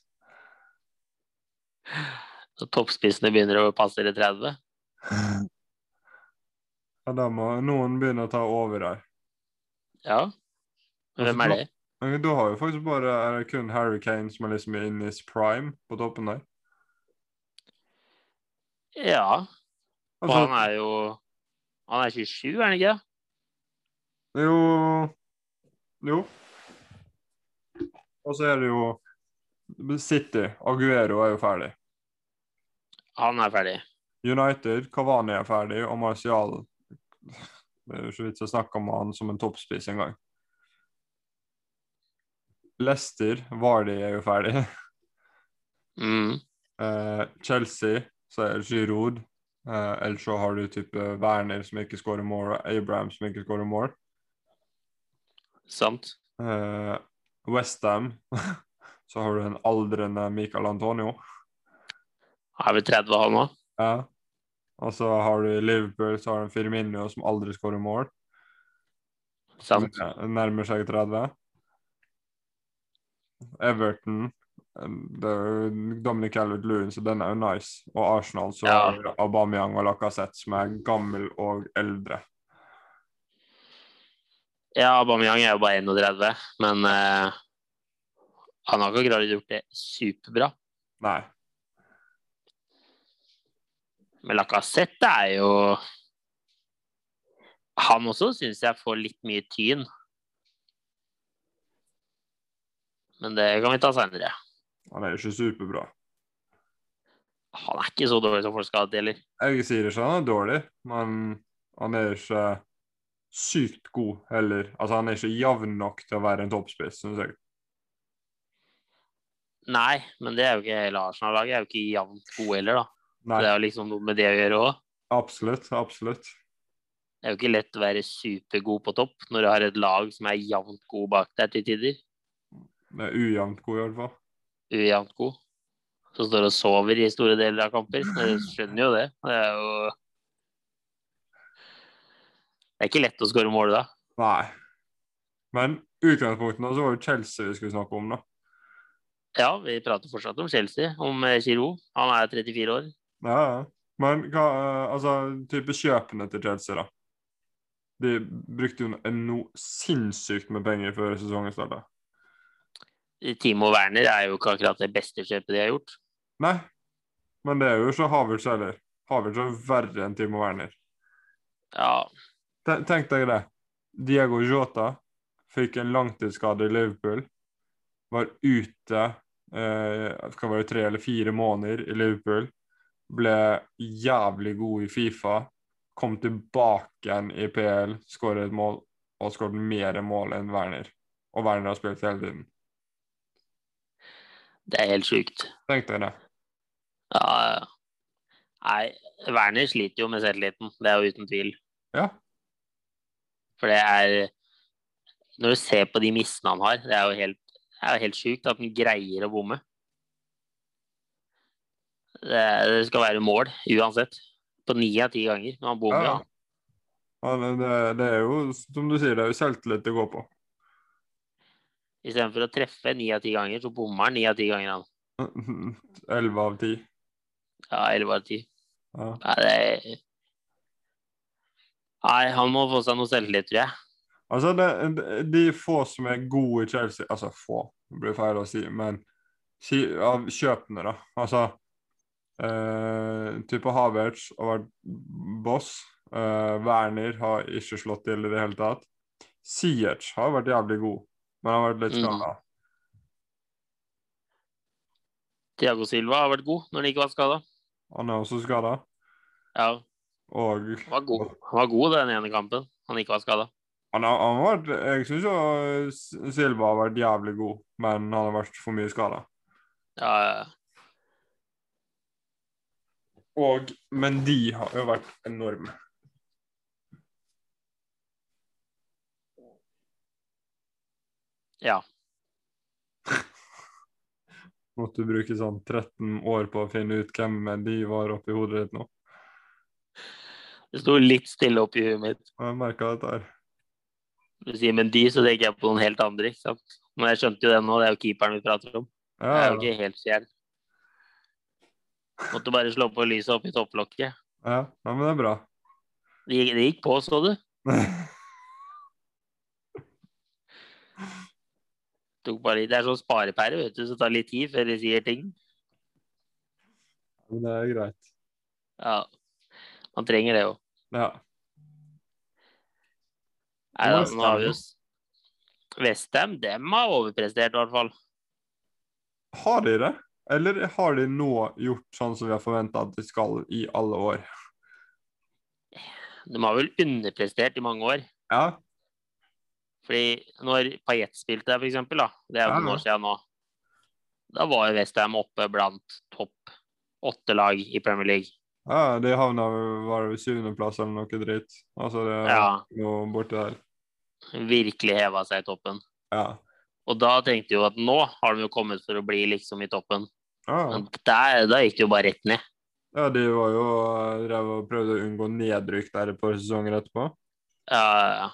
Speaker 1: Så toppspissene begynner å passere 30.
Speaker 2: Ja, da må noen begynne å ta over her.
Speaker 1: Ja. Hvem er det?
Speaker 2: Men du har jo faktisk bare er det kun Harry Kane som er liksom in his prime på toppen der.
Speaker 1: Ja. Og
Speaker 2: Altså,
Speaker 1: han er jo Han er 27, er han ikke? det?
Speaker 2: Jo Jo. Og så er det jo City. Aguero er jo ferdig.
Speaker 1: Han er ferdig.
Speaker 2: United, Kavani er ferdig, og Martial Det er jo ikke vits å snakke om han som en toppspiss engang. Leicester, Vardy er jo ferdig.
Speaker 1: Mm.
Speaker 2: Eh, Chelsea, så er Giroud. Eh, ellers så har du type Werner som ikke scorer mål, og Abraham som ikke scorer mål.
Speaker 1: Sant.
Speaker 2: Eh, West Ham, så har du en aldrende Michael Antonio.
Speaker 1: Er vi 30 han nå?
Speaker 2: Ja. Og så har du Liverpool, så har du en Firmino som aldri skårer mål. som
Speaker 1: Sant.
Speaker 2: Nærmer seg 30. Everton eh, det er jo Dominic Calvert-Lewin, så den er jo nice. Og Arsenal, så
Speaker 1: Ja.
Speaker 2: har du Aubameyang og Lacassette, som er gammel og eldre.
Speaker 1: Ja, Aubameyang er jo bare 31, men eh, han har ikke akkurat gjort det superbra.
Speaker 2: Nei.
Speaker 1: Men Lacassette er jo Han også syns jeg får litt mye tyn. Men det kan vi ta seinere.
Speaker 2: Han er jo ikke superbra.
Speaker 1: Han er ikke så dårlig som folk skal ha det heller.
Speaker 2: Jeg sier ikke han er dårlig, men han er ikke sykt god heller. Altså, han er ikke jevn nok til å være en toppspiss, syns jeg.
Speaker 1: Nei, men det er jo ikke hele Arsenal-laget. er jo ikke jevnt gode heller, da.
Speaker 2: Nei,
Speaker 1: Det er jo liksom noe med det å gjøre òg.
Speaker 2: absolutt. Absolutt.
Speaker 1: Det er jo ikke lett å være supergod på topp når du har et lag som er jevnt god bak deg til tider.
Speaker 2: Det er ujevnt god, i hvert fall.
Speaker 1: Ujevnt god. Som står og sover i store deler av kamper. Jeg skjønner jo det. Det er jo Det er ikke lett å skåre mål da.
Speaker 2: Nei. Men utgangspunktet nå, så var jo Chelsea vi skulle snakke om, da.
Speaker 1: Ja, vi prater fortsatt om Chelsea, om eh, Giroud. Han er 34 år.
Speaker 2: Ja, ja. Men hva eh, Altså, type kjøpene til Chelsea, da. De brukte jo en- noe sinnssykt med penger før sesongen starta.
Speaker 1: Timo Werner er jo ikke akkurat det beste kjøpet de har gjort.
Speaker 2: Nei, men det er jo ikke Havertz heller. Havertz er verre enn Timo Werner.
Speaker 1: Ja,
Speaker 2: Te- Tenk deg det. Diego Jota fikk en langtidsskade i Liverpool. Var ute eh, skal være tre eller fire måneder i Liverpool. Ble jævlig god i Fifa. Kom tilbake igjen i PL, skåret et mål og har skåret mer mål enn Werner. Og Werner har spilt hele tiden.
Speaker 1: det er helt sjukt.
Speaker 2: Tenk deg det.
Speaker 1: Ja, ja. nei, Werner sliter jo med selvtilliten. Det er jo uten tvil.
Speaker 2: Ja.
Speaker 1: For det er Når du ser på de missene han har, det er jo helt, det er jo helt sjukt at han greier å bomme. Det, det skal være mål uansett. På ni av ti ganger. Men han bommer,
Speaker 2: ja.
Speaker 1: ja.
Speaker 2: Ja, men det, det er jo, som du sier, det er jo selvtillit det går på.
Speaker 1: Istedenfor å treffe ni av ti ganger, så bommer han ni av ti ganger. Han.
Speaker 2: Elleve av ti.
Speaker 1: Ja, eller bare ti.
Speaker 2: Ja.
Speaker 1: Nei, det er... Nei, han må få seg noe selvtillit, tror jeg.
Speaker 2: Altså, det, det- de få som er gode i Chelsea Altså, få, det blir feil å si, men si, av kjøpene, da. Altså eh, Type Havertz har vært boss. Eh, Werner har ikke slått til i det hele tatt. Siech har vært jævlig god, men han har vært litt
Speaker 1: Mm.
Speaker 2: skada.
Speaker 1: Thiago Silva har vært god når han ikke var skada.
Speaker 2: Han er også skada.
Speaker 1: Ja,
Speaker 2: Og
Speaker 1: han var god. Han var god den ene kampen han ikke var skada.
Speaker 2: han har, han har vært Jeg syns jo eh, S- Silva har vært jævlig god, men han har vært for mye skada.
Speaker 1: Ja, ja.
Speaker 2: Og Men de har jo vært enorme.
Speaker 1: Ja.
Speaker 2: Måtte du bruke sånn 13 år på å finne ut hvem de var oppi hodet ditt nå?
Speaker 1: Det sto litt stille opp i huet mitt.
Speaker 2: Jeg merka dette her.
Speaker 1: Du sier men de, så tenker jeg på noen helt andre. ikke sant? Men jeg skjønte jo det nå, det er jo keeperen vi prater om. Det er jo
Speaker 2: Ja,
Speaker 1: ikke helt fjern. Måtte bare slå på lyset opp i topplokket.
Speaker 2: ja, ja, men det er bra.
Speaker 1: Det gikk, det gikk på, så du. Tok bare litt. Det er sånn sparepære, vet du, så det tar litt tid før de sier ting.
Speaker 2: Men det er greit.
Speaker 1: Ja. Man trenger det jo.
Speaker 2: Ja.
Speaker 1: Nei da,
Speaker 2: West
Speaker 1: nå har vi
Speaker 2: Ham.
Speaker 1: jo Westham, dem har overprestert, i hvert fall.
Speaker 2: Har de det? Eller har de nå gjort sånn som vi har forventa at de skal i alle år?
Speaker 1: De har vel underprestert i mange år.
Speaker 2: Ja,
Speaker 1: Fordi når Payet spilte der, for eksempel, da, det er jo
Speaker 2: Ja,
Speaker 1: noen
Speaker 2: ja.
Speaker 1: år siden nå, da var jo Westham oppe blant topp åtte lag i Premier League.
Speaker 2: ja de havna var det syvendeplass eller noe dritt. Altså, det er
Speaker 1: Ja,
Speaker 2: noe borti der.
Speaker 1: virkelig heva seg i toppen.
Speaker 2: Ja.
Speaker 1: Og da tenkte jeg jo at nå har de jo kommet for å bli liksom i toppen.
Speaker 2: ja.
Speaker 1: Men der, da gikk det jo bare rett ned.
Speaker 2: Ja, de var jo drev og prøvde å unngå nedrykk der et par sesonger etterpå.
Speaker 1: Ja, ja, ja.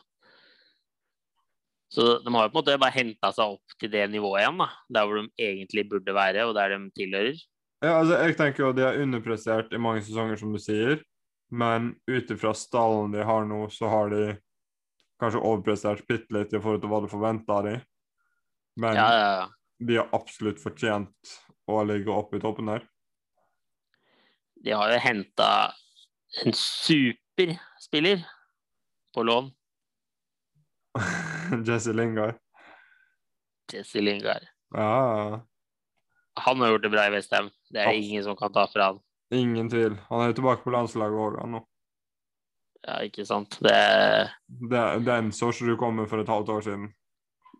Speaker 1: Så de har jo på en måte bare henta seg opp til det nivået igjen, da. Der hvor de egentlig burde være, og der de tilhører.
Speaker 2: Ja, altså, jeg tenker jo at de har underprestert i mange sesonger, som du sier. Men ut ifra stallen de har nå, så har de kanskje overprestert bitte litt i forhold til hva du forventa av dem. Men
Speaker 1: Ja, ja, ja.
Speaker 2: de har absolutt fortjent å ligge oppe i toppen der.
Speaker 1: De har jo henta en superspiller på lån.
Speaker 2: Jesse Lingard.
Speaker 1: Jesse Lingard.
Speaker 2: Ja,
Speaker 1: Han har gjort det bra i Westham. Det er
Speaker 2: Ja.
Speaker 1: ingen som kan ta fra han.
Speaker 2: ingen tvil. Han er jo tilbake på landslaget òg nå.
Speaker 1: Ja, ikke sant? Det...
Speaker 2: Det, den så ikke du komme for et halvt år siden.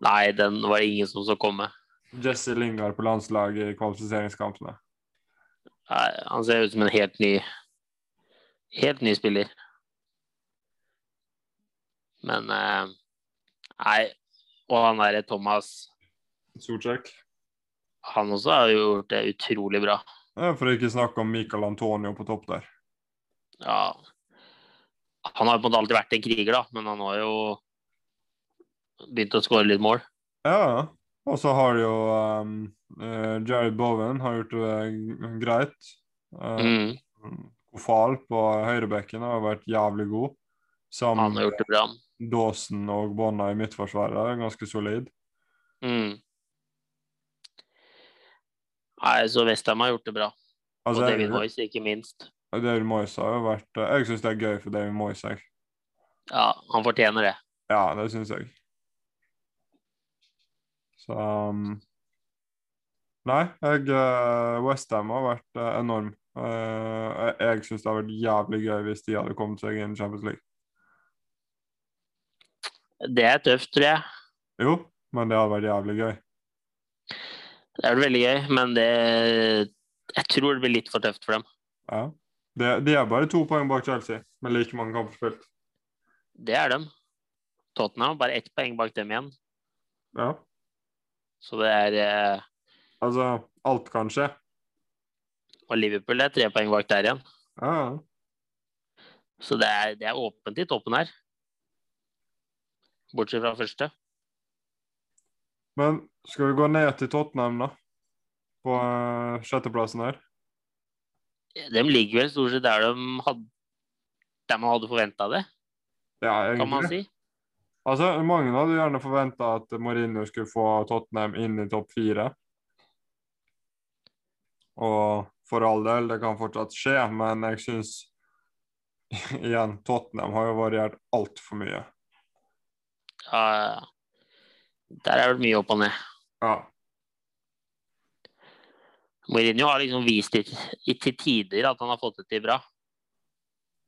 Speaker 1: Nei, den var det ingen som så komme.
Speaker 2: Jesse Lingard på landslaget i kvalifiseringskampene.
Speaker 1: Nei, han ser ut som en helt ny Helt ny spiller. Men eh, Nei. Og han derre Thomas,
Speaker 2: Solsjekk.
Speaker 1: han også har jo gjort det utrolig bra.
Speaker 2: Ja, for å ikke snakke om Michael Antonio på topp der.
Speaker 1: Ja. Han har på en måte alltid vært en kriger, da, men han har jo begynt å skåre litt mål.
Speaker 2: Ja, ja. Og så har jo um, eh, Jared Bowen har gjort det g- greit. Uh,
Speaker 1: Mm,
Speaker 2: Kofal på høyrebekken har vært jævlig god.
Speaker 1: han
Speaker 2: Sammen
Speaker 1: har gjort det bra.
Speaker 2: med Dawson og Bonna i midtforsvaret er ganske solid.
Speaker 1: Mm. Nei, så Westham har gjort det bra. Og
Speaker 2: Altså,
Speaker 1: David
Speaker 2: David,
Speaker 1: Moyes, ikke minst.
Speaker 2: David Moyes har jo vært eh, Jeg syns det er gøy for David Moyes, jeg.
Speaker 1: Ja, han fortjener det.
Speaker 2: Ja, det syns jeg. Så um, Nei, jeg, eh, West Ham har vært eh, enorm. Eh, jeg jeg syns det hadde vært jævlig gøy hvis de hadde kommet seg inn i Champions League.
Speaker 1: Det er tøft, tror jeg.
Speaker 2: Jo, men det hadde vært jævlig gøy.
Speaker 1: Det er veldig gøy, men det Jeg tror det blir litt for tøft for dem.
Speaker 2: Ja. De, de er bare to poeng bak Chelsea, med like mange kamper spilt.
Speaker 1: Det er dem. Tottenham har bare ett poeng bak dem igjen,
Speaker 2: Ja.
Speaker 1: så det er eh,
Speaker 2: Altså, alt kan skje.
Speaker 1: Og Liverpool er tre poeng bak der igjen.
Speaker 2: Ja.
Speaker 1: Så det er, det er åpent i toppen her. Bortsett fra første.
Speaker 2: Men skal vi gå ned til Tottenham, da? På eh, sjetteplassen her.
Speaker 1: De ligger vel stort sett der de hadde der man hadde forventa det,
Speaker 2: Ja,
Speaker 1: kan man
Speaker 2: egentlig.
Speaker 1: si.
Speaker 2: Altså, Mange hadde gjerne forventa at Mourinho skulle få Tottenham inn i topp fire. Og for all del, det kan fortsatt skje, men jeg syns Igjen, Tottenham har jo variert altfor mye.
Speaker 1: Ja, der er det mye opp og ned.
Speaker 2: Ja.
Speaker 1: Mourinho har liksom vist til, til tider at han har fått det til bra.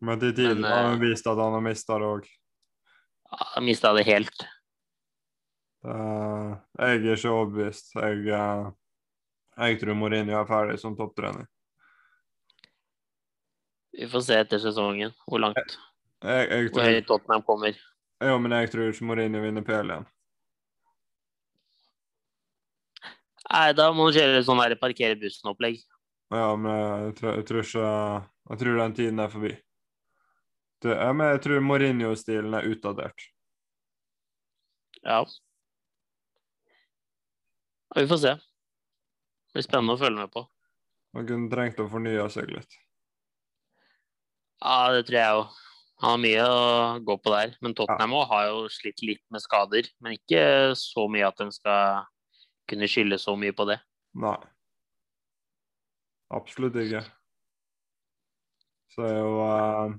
Speaker 2: Men til tider
Speaker 1: Men, eh,
Speaker 2: har han vist at han har mista det òg.
Speaker 1: Han mista det helt.
Speaker 2: Jeg er ikke overbevist. Jeg, eh, jeg tror Mourinho er ferdig som topptrener.
Speaker 1: Vi får se etter sesongen hvor langt
Speaker 2: Jeg, jeg,
Speaker 1: hvor
Speaker 2: tror,
Speaker 1: høyt Tottenham kommer.
Speaker 2: jo, men jeg tror ikke Mourinho vinner PL igjen.
Speaker 1: Nei, da må du kjøre sånn der parkere bussen-opplegg.
Speaker 2: Ja, men jeg tror, jeg tror ikke Jeg tror den tiden er forbi. Det, ja, men jeg tror Mourinho-stilen er utdatert.
Speaker 1: Ja. Ja, Vi får se. Det blir spennende å følge med på.
Speaker 2: Han kunne trengt å fornye seg litt.
Speaker 1: Ja, det tror jeg òg. Han har mye å gå på der. Men Tottenham også har jo slitt litt med skader. Men ikke så mye at de skal kunne skylde så mye på det.
Speaker 2: Nei. Absolutt ikke. Så det er jo eh,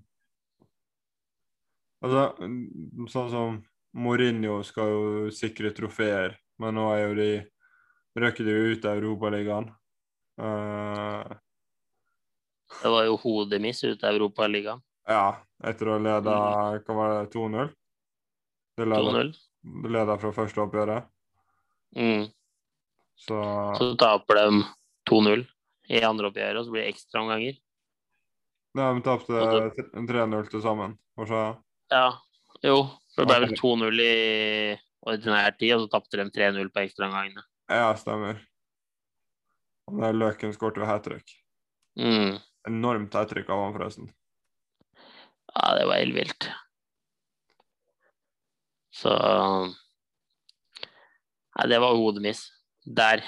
Speaker 2: Altså, mm, sånn som Mourinho skal jo sikre trofeer, men nå er jo de Røkker de jo ut av Europaligaen. Eh,
Speaker 1: Det var jo hodet mitt ut av Europaligaen.
Speaker 2: ja, etter å ha leda Hva var det, 2-0? De leda-
Speaker 1: 2-0.
Speaker 2: de leda fra første oppgjøret,
Speaker 1: Mm.
Speaker 2: så
Speaker 1: Så taper de 2-0 i andre oppgjøret, og så blir det ekstraomganger.
Speaker 2: Nei, de tapte 3-0 til sammen. Hva sa jeg?
Speaker 1: Ja, jo. For det ble vel 2-0 i ordinær tid, og så tapte de 3-0 på ekstraomgangene.
Speaker 2: Ja, stemmer. Han der Løken skåret jo hat trick.
Speaker 1: Mm.
Speaker 2: Enormt hat trick av han, forresten.
Speaker 1: Ja, det var helt vilt. Så Nei, det var hodemiss. Der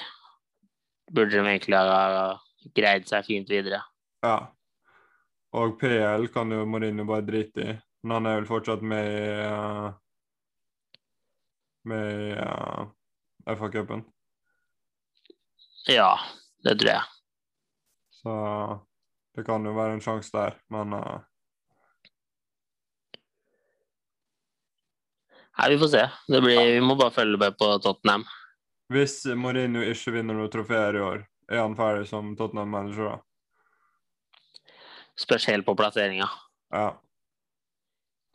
Speaker 1: burde de egentlig ha greid seg fint videre.
Speaker 2: Ja. Og PL kan jo Mourinho bare drite i, men han er vel fortsatt med i eh, Med i eh, FA-cupen.
Speaker 1: Ja, det tror jeg.
Speaker 2: Så det kan jo være en sjanse der, men eh,
Speaker 1: Nei, vi får se. Det blir, vi må bare følge med på Tottenham.
Speaker 2: hvis Mourinho ikke vinner noen trofeer i år, er han ferdig som Tottenham-manager, da?
Speaker 1: Spørs helt på plasseringa.
Speaker 2: Ja.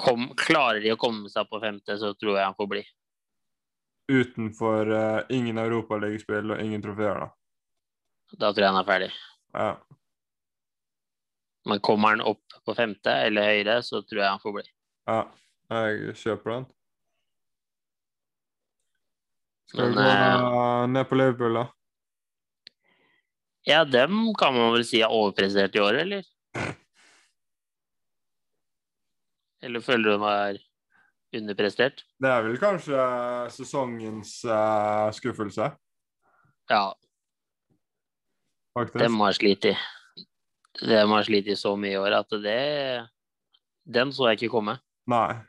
Speaker 1: Kom, klarer de å komme seg på femte, så tror jeg han får bli.
Speaker 2: Utenfor uh, ingen europaligaspill og ingen trofeer, da.
Speaker 1: Da tror jeg han er ferdig.
Speaker 2: Ja.
Speaker 1: Men kommer han opp på femte eller høyere, så tror jeg han får bli.
Speaker 2: Ja, jeg kjøper den. Skal vi
Speaker 1: Men
Speaker 2: gå
Speaker 1: eh,
Speaker 2: eh, ned på Liverpool, da?
Speaker 1: ja, dem kan man vel si er overprestert i år, eller? Eller føler du de er underprestert?
Speaker 2: Det er vel kanskje sesongens eh, skuffelse,
Speaker 1: Ja,
Speaker 2: faktisk.
Speaker 1: dem har slitt i. Dem har slitt i så mye i år at det Den så jeg ikke komme.
Speaker 2: Nei.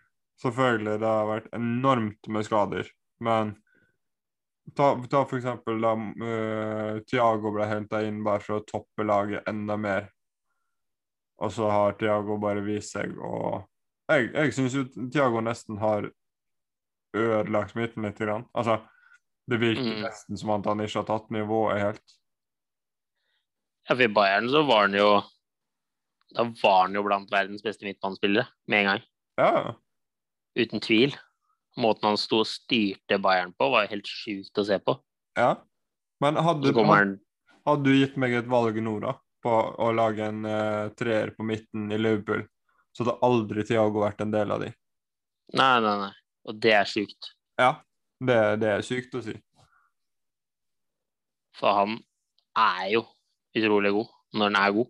Speaker 2: Selvfølgelig, det har vært enormt med skader, men ta, ta for eksempel da eh, Thiago ble henta inn bare for å toppe laget enda mer, og så har Thiago bare vist seg å Jeg, jeg syns jo Thiago nesten har ødelagt smitten litt. Grann. Altså, det virker
Speaker 1: Mm.
Speaker 2: nesten som at han ikke har tatt nivået helt.
Speaker 1: Ja, for I Bayern så var han jo Da var han jo blant verdens beste midtbanespillere med en gang.
Speaker 2: Ja,
Speaker 1: Uten tvil. Måten han sto og styrte Bayern på, var jo helt sjukt å se på.
Speaker 2: ja. Men
Speaker 1: Så
Speaker 2: hadde,
Speaker 1: kommer han
Speaker 2: Hadde du gitt meg et valg nå, da, på å lage en eh, treer på midten i Liverpool, så hadde aldri Thiago vært en del av de.
Speaker 1: Nei, nei, nei. Og det er sjukt.
Speaker 2: Det, det er sykt å si.
Speaker 1: For han er jo utrolig god når han er god.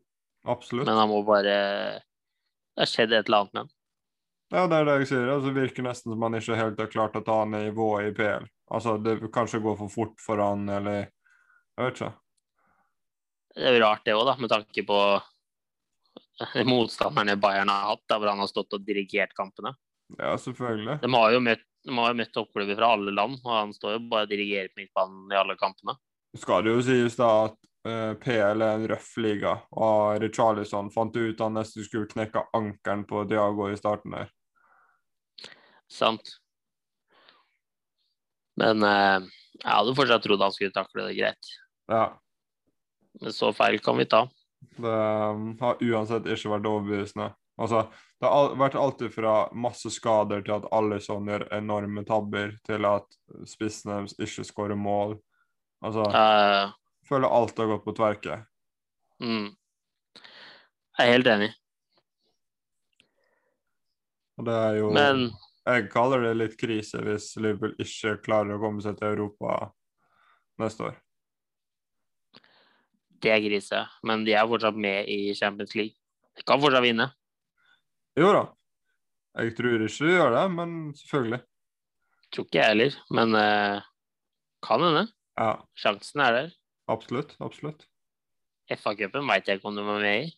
Speaker 2: Absolutt.
Speaker 1: Men han må bare Det har skjedd et eller annet med han.
Speaker 2: Ja, det er det jeg sier. Altså, det virker nesten som han ikke helt har klart å ta nivået i PL. Altså, det kanskje går for fort for han, eller Jeg vet ikke.
Speaker 1: Det er jo rart det òg, da, med tanke på motstanderne Bayern har hatt, der hvor han har stått og dirigert kampene.
Speaker 2: Ja, selvfølgelig.
Speaker 1: De har jo møtt, de har jo møtt toppklubber fra alle land, og han står jo bare og dirigerer på midtbanen i alle kampene.
Speaker 2: Skal det jo sies, da, at eh, PL er en røff liga, og Richarlison fant ut han nesten skulle knekke ankelen på Thiago i starten der.
Speaker 1: Sant. Men eh, jeg hadde fortsatt trodd han skulle takle det greit.
Speaker 2: Ja.
Speaker 1: Men så feil kan vi ta.
Speaker 2: Det um, har uansett ikke vært overbevisende. Altså, det har al vært alt fra masse skader til at alle sånn gjør enorme tabber, til at spissen deres ikke skårer mål. Altså,
Speaker 1: Eh,
Speaker 2: føler alt har gått på tverke.
Speaker 1: Mm. Jeg er helt enig,
Speaker 2: Og det er jo
Speaker 1: men
Speaker 2: Jeg kaller det litt krise hvis Liverpool ikke klarer å komme seg til Europa neste år.
Speaker 1: det er krise. Men de er fortsatt med i Champions League. De kan fortsatt vinne.
Speaker 2: Jo da, jeg tror ikke de gjør det, men selvfølgelig.
Speaker 1: Tror ikke jeg heller, men eh, kan hende.
Speaker 2: Ja,
Speaker 1: Sjansen er der.
Speaker 2: absolutt. Absolutt.
Speaker 1: FA-cupen veit jeg ikke om de er med i.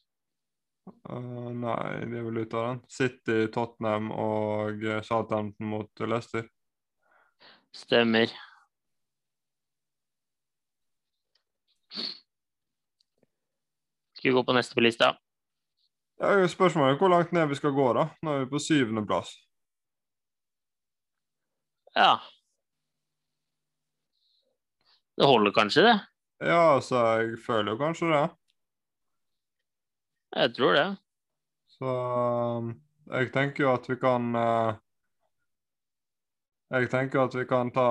Speaker 2: Eh, nei, de er vel ute av den. City, Tottenham og eh, Southampton mot Leicester.
Speaker 1: Stemmer. Skal vi gå på neste på lista?
Speaker 2: Ja, spørsmålet er hvor langt ned vi skal gå, da. Nå er vi på syvendeplass.
Speaker 1: Ja. Det holder kanskje, det.
Speaker 2: Ja, altså, jeg føler jo kanskje det.
Speaker 1: Jeg tror det.
Speaker 2: Så eh, jeg tenker jo at vi kan eh, Jeg tenker at vi kan ta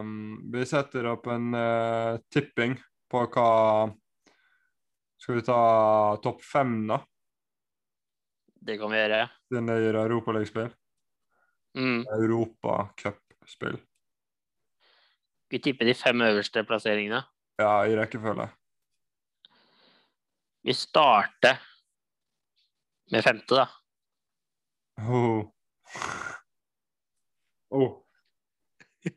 Speaker 2: eh, Vi setter opp en eh, tipping på hva Skal vi ta topp fem, da,
Speaker 1: Det kan vi gjøre.
Speaker 2: siden det gir europaligaspill?
Speaker 1: Mm.
Speaker 2: Europacupspill.
Speaker 1: Vi tipper de fem øverste plasseringene.
Speaker 2: Ja, i rekkefølge.
Speaker 1: Vi starter med femte, da.
Speaker 2: Oh. Oh.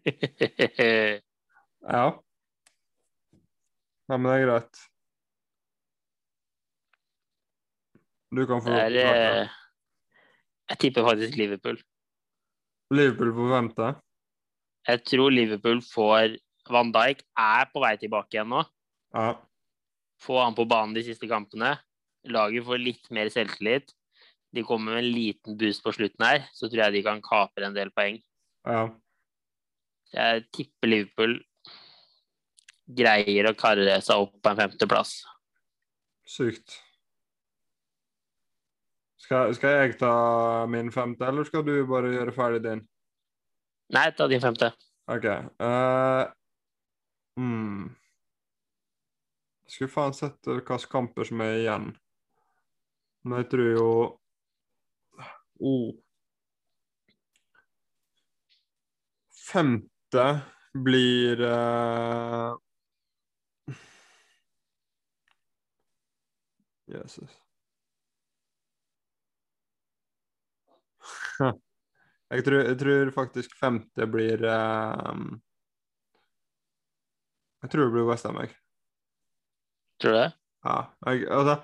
Speaker 2: Ja. Nei, men det er greit. Du kan få
Speaker 1: Det er eh, Jeg tipper faktisk Liverpool.
Speaker 2: Liverpool på femte.
Speaker 1: Jeg tror Liverpool får Van Dijk er på vei tilbake igjen nå.
Speaker 2: Ja.
Speaker 1: Få han på banen de siste kampene. Laget får litt mer selvtillit. De kommer med en liten boost på slutten her, så tror jeg de kan kapre en del poeng.
Speaker 2: ja.
Speaker 1: Jeg tipper Liverpool greier å karre seg opp på en femteplass.
Speaker 2: Sykt. Skal, skal jeg ta min femte, eller skal du bare gjøre ferdig din?
Speaker 1: Nei, ta din femte.
Speaker 2: OK. eh, mm. Skulle faen sett hvilke kamper som er igjen. Men jeg tror jo oh. Femte blir eh, Jesus. Jeg tror, jeg tror faktisk femte blir ehm, Jeg tror det blir Westham, jeg.
Speaker 1: Tror du det?
Speaker 2: Ja, jeg altså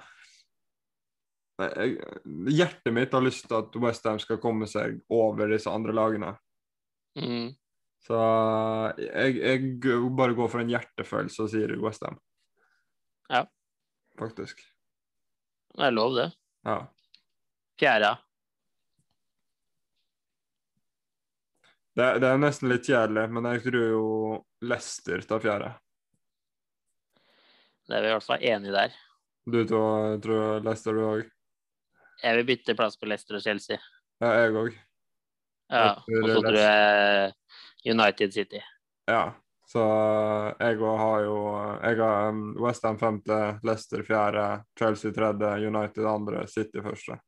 Speaker 2: jeg, Hjertet mitt har lyst til at Westham skal komme seg over disse andre lagene.
Speaker 1: Mm.
Speaker 2: Så jeg, jeg g- bare går for en hjertefølelse og sier Westham.
Speaker 1: Ja.
Speaker 2: Faktisk.
Speaker 1: Det er lov, det.
Speaker 2: Ja.
Speaker 1: Fjerde.
Speaker 2: Det, det er nesten litt kjedelig, men jeg tror jo Leicester tar fjerde.
Speaker 1: Det er vi i hvert fall enige der.
Speaker 2: Du to, jeg tror Leicester du òg?
Speaker 1: Jeg vil bytte plass på Leicester og Chelsea.
Speaker 2: Ja, jeg òg.
Speaker 1: Ja,
Speaker 2: Jeg tror
Speaker 1: og så tror jeg United City.
Speaker 2: Ja, så jeg òg har jo Jeg har um, Westham femte, Leicester fjerde, Chelsea tredje, United andre, City første.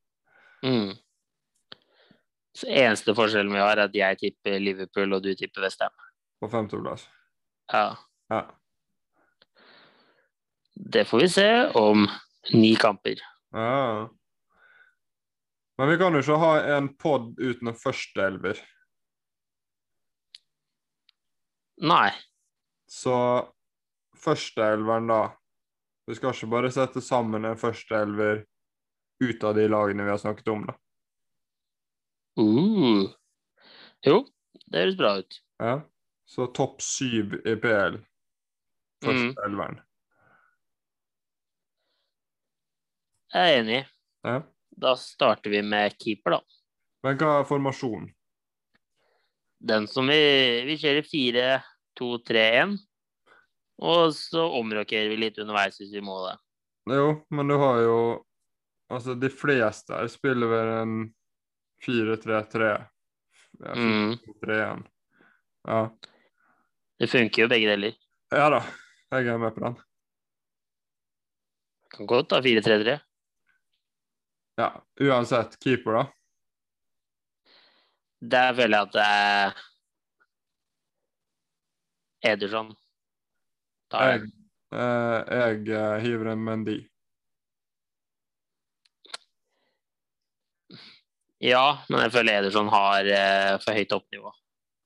Speaker 1: Mm. Så eneste forskjellen vi har, er at jeg tipper Liverpool, og du tipper Westham.
Speaker 2: På femteplass.
Speaker 1: Ja.
Speaker 2: Ja.
Speaker 1: Det får vi se om ni kamper.
Speaker 2: ja. Men vi kan jo ikke ha en pod uten en førsteelver.
Speaker 1: Nei.
Speaker 2: Så førsteelveren, da Du skal ikke bare sette sammen en førsteelver ut av de lagene vi har snakket om, da.
Speaker 1: Uh. Jo, det høres bra ut.
Speaker 2: Ja. Så topp syv i PL,
Speaker 1: Mm.
Speaker 2: førsteelveren.
Speaker 1: Jeg er enig.
Speaker 2: Ja.
Speaker 1: Da starter vi med keeper, da.
Speaker 2: Men hva er formasjonen?
Speaker 1: Den som vi, vi kjører 4, 2, 3, 1. Og så omrokerer vi litt underveis hvis vi må det.
Speaker 2: Jo, men du har jo Altså, de fleste her spiller vel en 4-3-3. Ja,
Speaker 1: Mm.
Speaker 2: 4-3-1. Ja.
Speaker 1: Det funker jo begge deler.
Speaker 2: ja da, jeg er med på den.
Speaker 1: Kan godt ta 4-3-3.
Speaker 2: Ja, Uansett, keeper, da.
Speaker 1: Der føler jeg at det er Ederson. Da er
Speaker 2: Jeg, eh, jeg eh, hiver en Mendy.
Speaker 1: Ja, men jeg føler Ederson har eh, for høyt toppnivå.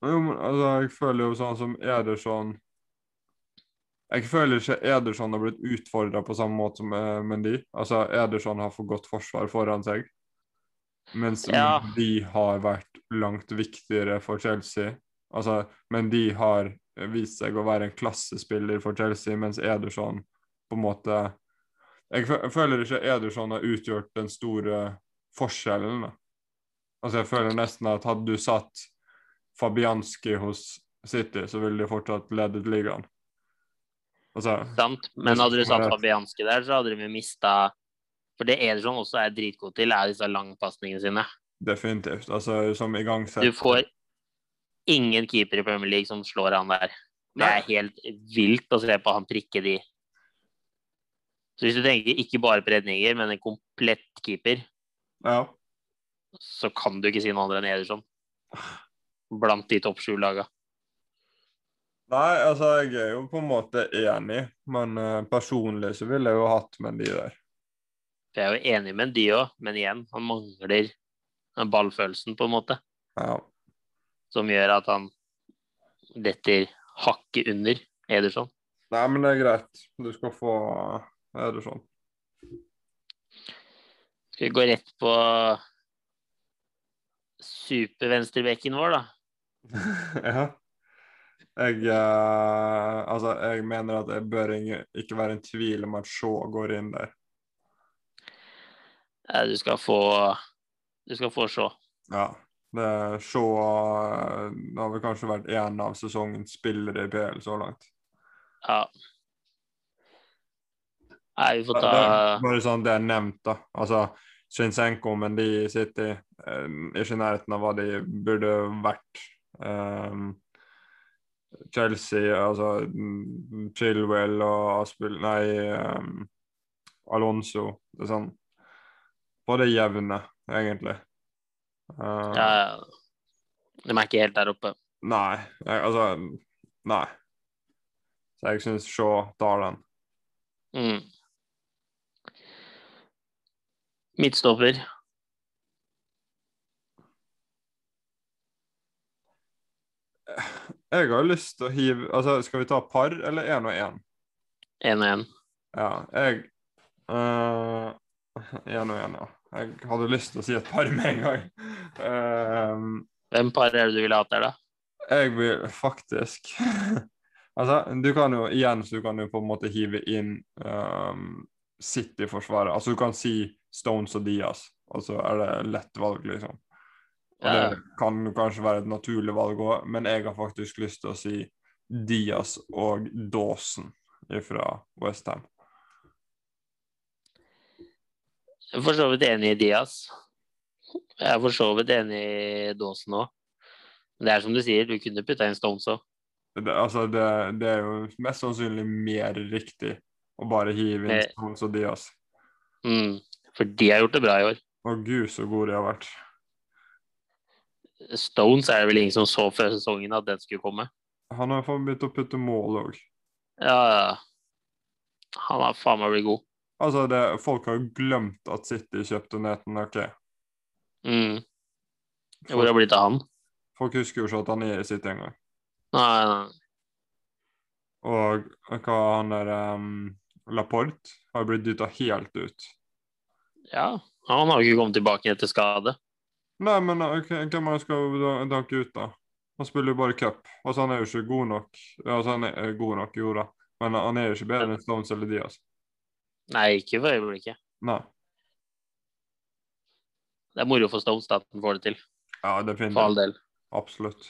Speaker 2: Jo, men altså, jeg føler jo sånn som Ederson Jeg føler ikke Ederson har blitt utfordra på samme måte som eh, Mendy. Altså, Ederson har for godt forsvar foran seg, mens
Speaker 1: Ja.
Speaker 2: Mendy har vært langt viktigere for Chelsea. Altså, Mendy har vist seg å være en klassespiller for Chelsea, mens Ederson på en måte Jeg fø- jeg føler ikke Ederson har utgjort den store forskjellen. Da. Altså, jeg føler nesten at hadde du satt Fabianski hos City, så ville de fortsatt ledet ligaen. Altså,
Speaker 1: Sant? Men hadde du satt
Speaker 2: Ja.
Speaker 1: Fabianski der, så hadde de mista For det Ederson også er dritgod til, er disse langpasningene sine.
Speaker 2: definitivt. Altså, som igangsett.
Speaker 1: Du får ingen keeper i Premier League som slår han der. Det
Speaker 2: Nei.
Speaker 1: er helt vilt å se på han prikke de. Så hvis du tenker ikke bare på redninger, men en komplett keeper,
Speaker 2: Ja.
Speaker 1: så kan du ikke si noe andre enn Ederson. Blant de topp sju laga.
Speaker 2: Nei, altså, jeg er jo på en måte enig, men eh, personlig så ville jeg jo hatt med de der.
Speaker 1: For jeg er jo enig med de òg, men igjen, han mangler den ballfølelsen, på en måte,
Speaker 2: Ja.
Speaker 1: som gjør at han detter hakket under Ederson.
Speaker 2: Nei, men det er greit. Du skal få eh, Ederson.
Speaker 1: Skal vi gå rett på supervenstrebekken vår, da?
Speaker 2: ja. Jeg, eh, altså, jeg mener at det bør ing- ikke være en tvil om at Shaw går inn der.
Speaker 1: Eh, Du skal få Du skal få se.
Speaker 2: Ja. Det, Shaw eh, har vel kanskje vært en av sesongens spillere i PL så langt.
Speaker 1: Ja. Nei, vi får
Speaker 2: Det,
Speaker 1: ta
Speaker 2: det, bare sånn det er nevnt, da. Altså, Shinsenko, men de i City eh, ikke i nærheten av hva de burde vært. Ehm, Chelsea, altså mm, Chilwell og Aspil Nei, ehm, Alonso. Det er sånn på det jevne, egentlig. Eh,
Speaker 1: ja, ja. De er ikke helt der oppe.
Speaker 2: Nei, jeg, altså Nei. Så jeg syns Shaw tar den.
Speaker 1: Mm. Midtstopper.
Speaker 2: Jeg har jo lyst til å hive Altså, skal vi ta par eller én og én?
Speaker 1: Én og én.
Speaker 2: Ja, jeg øh, Én og én, ja. Jeg hadde lyst til å si et par med en gang. Ehm,
Speaker 1: Hvem par er det du ville hatt der, da?
Speaker 2: jeg vil faktisk Altså, du kan jo igjen så du kan jo på en måte hive inn ehm, City-forsvaret. Altså, du kan si Stones og Diaz, og så er det lett valg, liksom. Og
Speaker 1: Ja.
Speaker 2: det kan jo kanskje være et naturlig valg òg, men jeg har faktisk lyst til å si Diaz og Dawson fra Westham.
Speaker 1: Jeg er for så vidt enig i Diaz. Jeg er for så vidt enig i Dawson òg. Men det er som du sier, du kunne putta inn Stones òg.
Speaker 2: Det, altså det, det er jo mest sannsynlig mer riktig å bare hive inn
Speaker 1: Eh.
Speaker 2: Stones og Diaz.
Speaker 1: Mm. For de har gjort det bra i år.
Speaker 2: Å gud, så gode de har vært.
Speaker 1: Stones er det vel ingen som så før sesongen at den skulle komme.
Speaker 2: Han har fått begynt å putte mål òg.
Speaker 1: Ja, ja. han har faen meg blitt god.
Speaker 2: Altså det, folk har jo glemt at City kjøpte Nathan Ake.
Speaker 1: Mm. Hvor har
Speaker 2: Folk,
Speaker 1: det blitt av han?
Speaker 2: folk husker jo ikke at han er i City engang.
Speaker 1: Nei, nei, nei.
Speaker 2: Og hva han der ehm, Laporte har blitt dytta helt ut.
Speaker 1: ja, han har jo ikke kommet tilbake etter skade.
Speaker 2: Nei, men eh, ok, hvem er det skal da- danke ut, da? Han spiller jo bare cup. Altså, han er jo ikke god nok. Altså, han er eh, god nok, jo da, men eh, han er jo ikke bedre enn Stones eller Diaz.
Speaker 1: Nei, ikke for øyeblikket.
Speaker 2: Nei.
Speaker 1: Det er moro for Stones da, at han får det til,
Speaker 2: Ja,
Speaker 1: for all
Speaker 2: definitivt.
Speaker 1: del.
Speaker 2: Absolutt.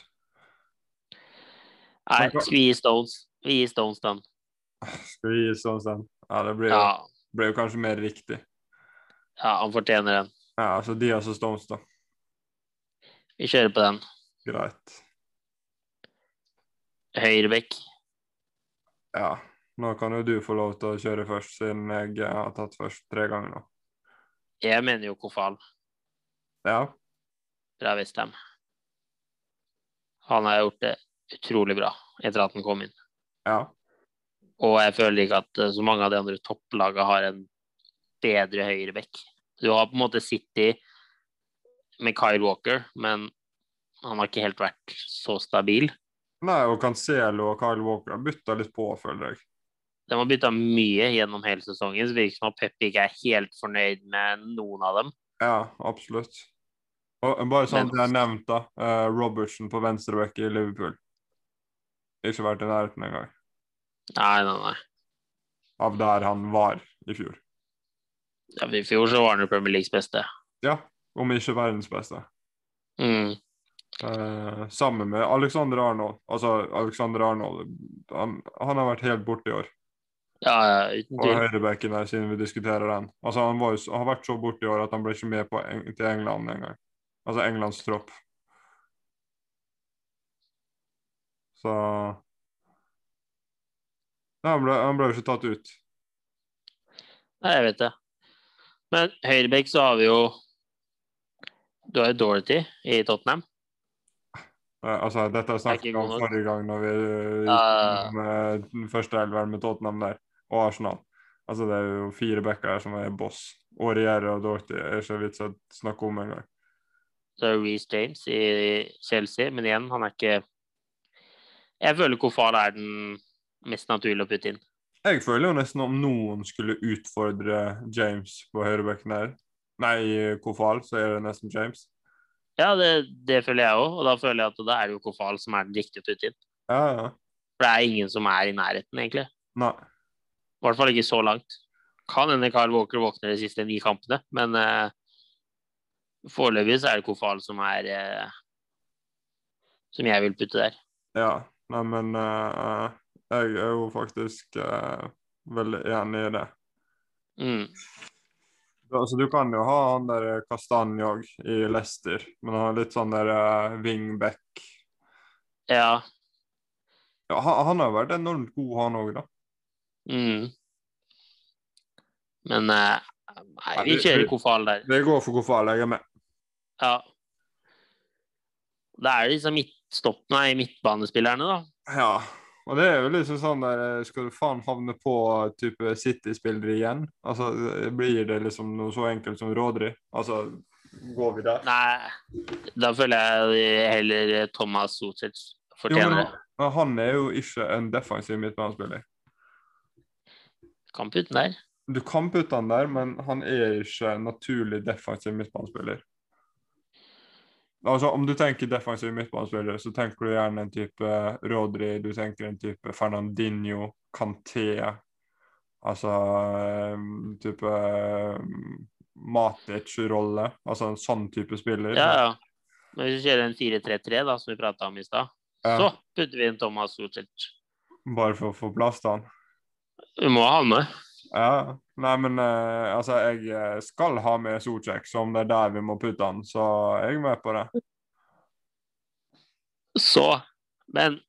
Speaker 1: Nei, skal vi gi Stones? Vi gir Stones den.
Speaker 2: Skal vi gi sånn sen? Ja, det blir,
Speaker 1: Ja,
Speaker 2: blir jo kanskje mer riktig.
Speaker 1: ja, han fortjener den.
Speaker 2: Ja, altså Diaz og Stones, da.
Speaker 1: Vi kjører på den.
Speaker 2: Greit.
Speaker 1: Høyrebekk.
Speaker 2: Ja. Nå kan jo du få lov til å kjøre først, siden jeg eh, har tatt først tre ganger nå.
Speaker 1: Jeg mener jo Kofal
Speaker 2: Ja.
Speaker 1: fra Westham. Han har gjort det utrolig bra etter at han kom inn.
Speaker 2: Ja.
Speaker 1: Og jeg føler ikke at eh, så mange av de andre topplagene har en bedre høyrebekk. Du har på en måte City med Kyle Walker, men han har ikke helt vært så stabil.
Speaker 2: Nei, og Cancelo og Kyle Walker har bytta litt på, føler jeg.
Speaker 1: De har bytta mye gjennom hele sesongen, så det virker som at Pep ikke er helt fornøyd med noen av dem.
Speaker 2: Ja, absolutt. Og bare sånn
Speaker 1: Men-
Speaker 2: det er nevnt, da. eh, Robertson på venstreback i Liverpool. Ikke vært i nærheten engang
Speaker 1: Nei, nei, nei.
Speaker 2: av der han var i fjor.
Speaker 1: Ja, I fjor så var han jo Premier Leagues beste.
Speaker 2: Ja, om ikke verdens beste.
Speaker 1: Mm.
Speaker 2: Eh, sammen med Alexander Arnold. Altså, Alexander Arnold han, han har vært helt borte i år.
Speaker 1: Ja, ja, uten
Speaker 2: Og
Speaker 1: tvil.
Speaker 2: høyrebekken der, siden vi diskuterer den. Altså, han var jo, s- har vært så borte i år at han ble ikke med på, Eng- til England engang. Altså Englands tropp. Så Nei, han ble, han ble jo ikke tatt ut.
Speaker 1: Nei, jeg vet det. Men høyrebekk så har vi jo Du har jo Dorothy i Tottenham.
Speaker 2: Eh, altså, dette snakket
Speaker 1: ikke
Speaker 2: vi om
Speaker 1: god nok.
Speaker 2: forrige gang når vi eh,
Speaker 1: Ja, ja, ja.
Speaker 2: gikk med den første elveren med Tottenham der, og Arsenal. Altså, det er jo fire backer her som er boss. Og Riera og Dorothy er ikke vits å snakke om engang.
Speaker 1: Så er det Reece James i Chelsea. Men igjen, han er ikke Jeg føler Kofar er den mest naturlige å putte inn.
Speaker 2: Jeg føler jo nesten om noen skulle utfordre James på høyrebekken her, nei, Kofal, så er det nesten James.
Speaker 1: Ja, det, det føler jeg òg. Og da føler jeg at da er det jo Kofal som er den riktige å putte inn.
Speaker 2: Ja, ja.
Speaker 1: For det er ingen som er i nærheten, egentlig.
Speaker 2: Nei.
Speaker 1: I hvert fall ikke så langt. Kan hende Carl Walker våkner de siste ni kampene, men eh, foreløpig så er det Kofal som er eh, Som jeg vil putte der.
Speaker 2: Ja. Nei, men eh, jeg er jo faktisk eh, veldig enig i det.
Speaker 1: Mm.
Speaker 2: Altså, du kan jo ha han der Kastanjog i Leicester, men han er litt sånn der eh, wingback.
Speaker 1: Ja.
Speaker 2: Ja, han, han har jo vært enormt god, han òg, da.
Speaker 1: Mm. Men eh, nei,
Speaker 2: Nei,
Speaker 1: vi
Speaker 2: vi-
Speaker 1: kjører
Speaker 2: vi-
Speaker 1: Kofal der.
Speaker 2: Det går for Kofal, jeg er med.
Speaker 1: Ja. Da er det liksom midtstopp, nei, midtbanespillerne, da.
Speaker 2: Ja. Og det er jo liksom sånn der eh, Skal du faen havne på eh, type City-spillere igjen? Altså, eh, Blir det liksom noe så enkelt som Rodri? Altså, går vi der?
Speaker 1: Nei, da føler jeg heller Thomas Sotic
Speaker 2: Jo,
Speaker 1: fortjener
Speaker 2: men-
Speaker 1: det.
Speaker 2: Men han er jo ikke en defensiv midtbanespiller.
Speaker 1: Kamp uten der.
Speaker 2: Du kan putte han der, men han er ikke en naturlig defensiv midtbanespiller. Altså, Om du tenker defensiv midtbanespiller, så tenker du gjerne en type Rodri, du tenker en type Fernandinho, Canté Altså eh, type eh, Matic-rolle. Altså en sånn type spiller.
Speaker 1: Ja, ja. Men hvis vi kjører en 4-3-3, da, som vi prata om i stad,
Speaker 2: Ja,
Speaker 1: så putter vi inn Thomas Sotic.
Speaker 2: Bare for å få plass til han.
Speaker 1: Vi må ha han med.
Speaker 2: Ja. Nei, men eh, altså, jeg eh, skal ha med Socek, så om det er der vi må putte han, så er jeg med på det.
Speaker 1: Så Men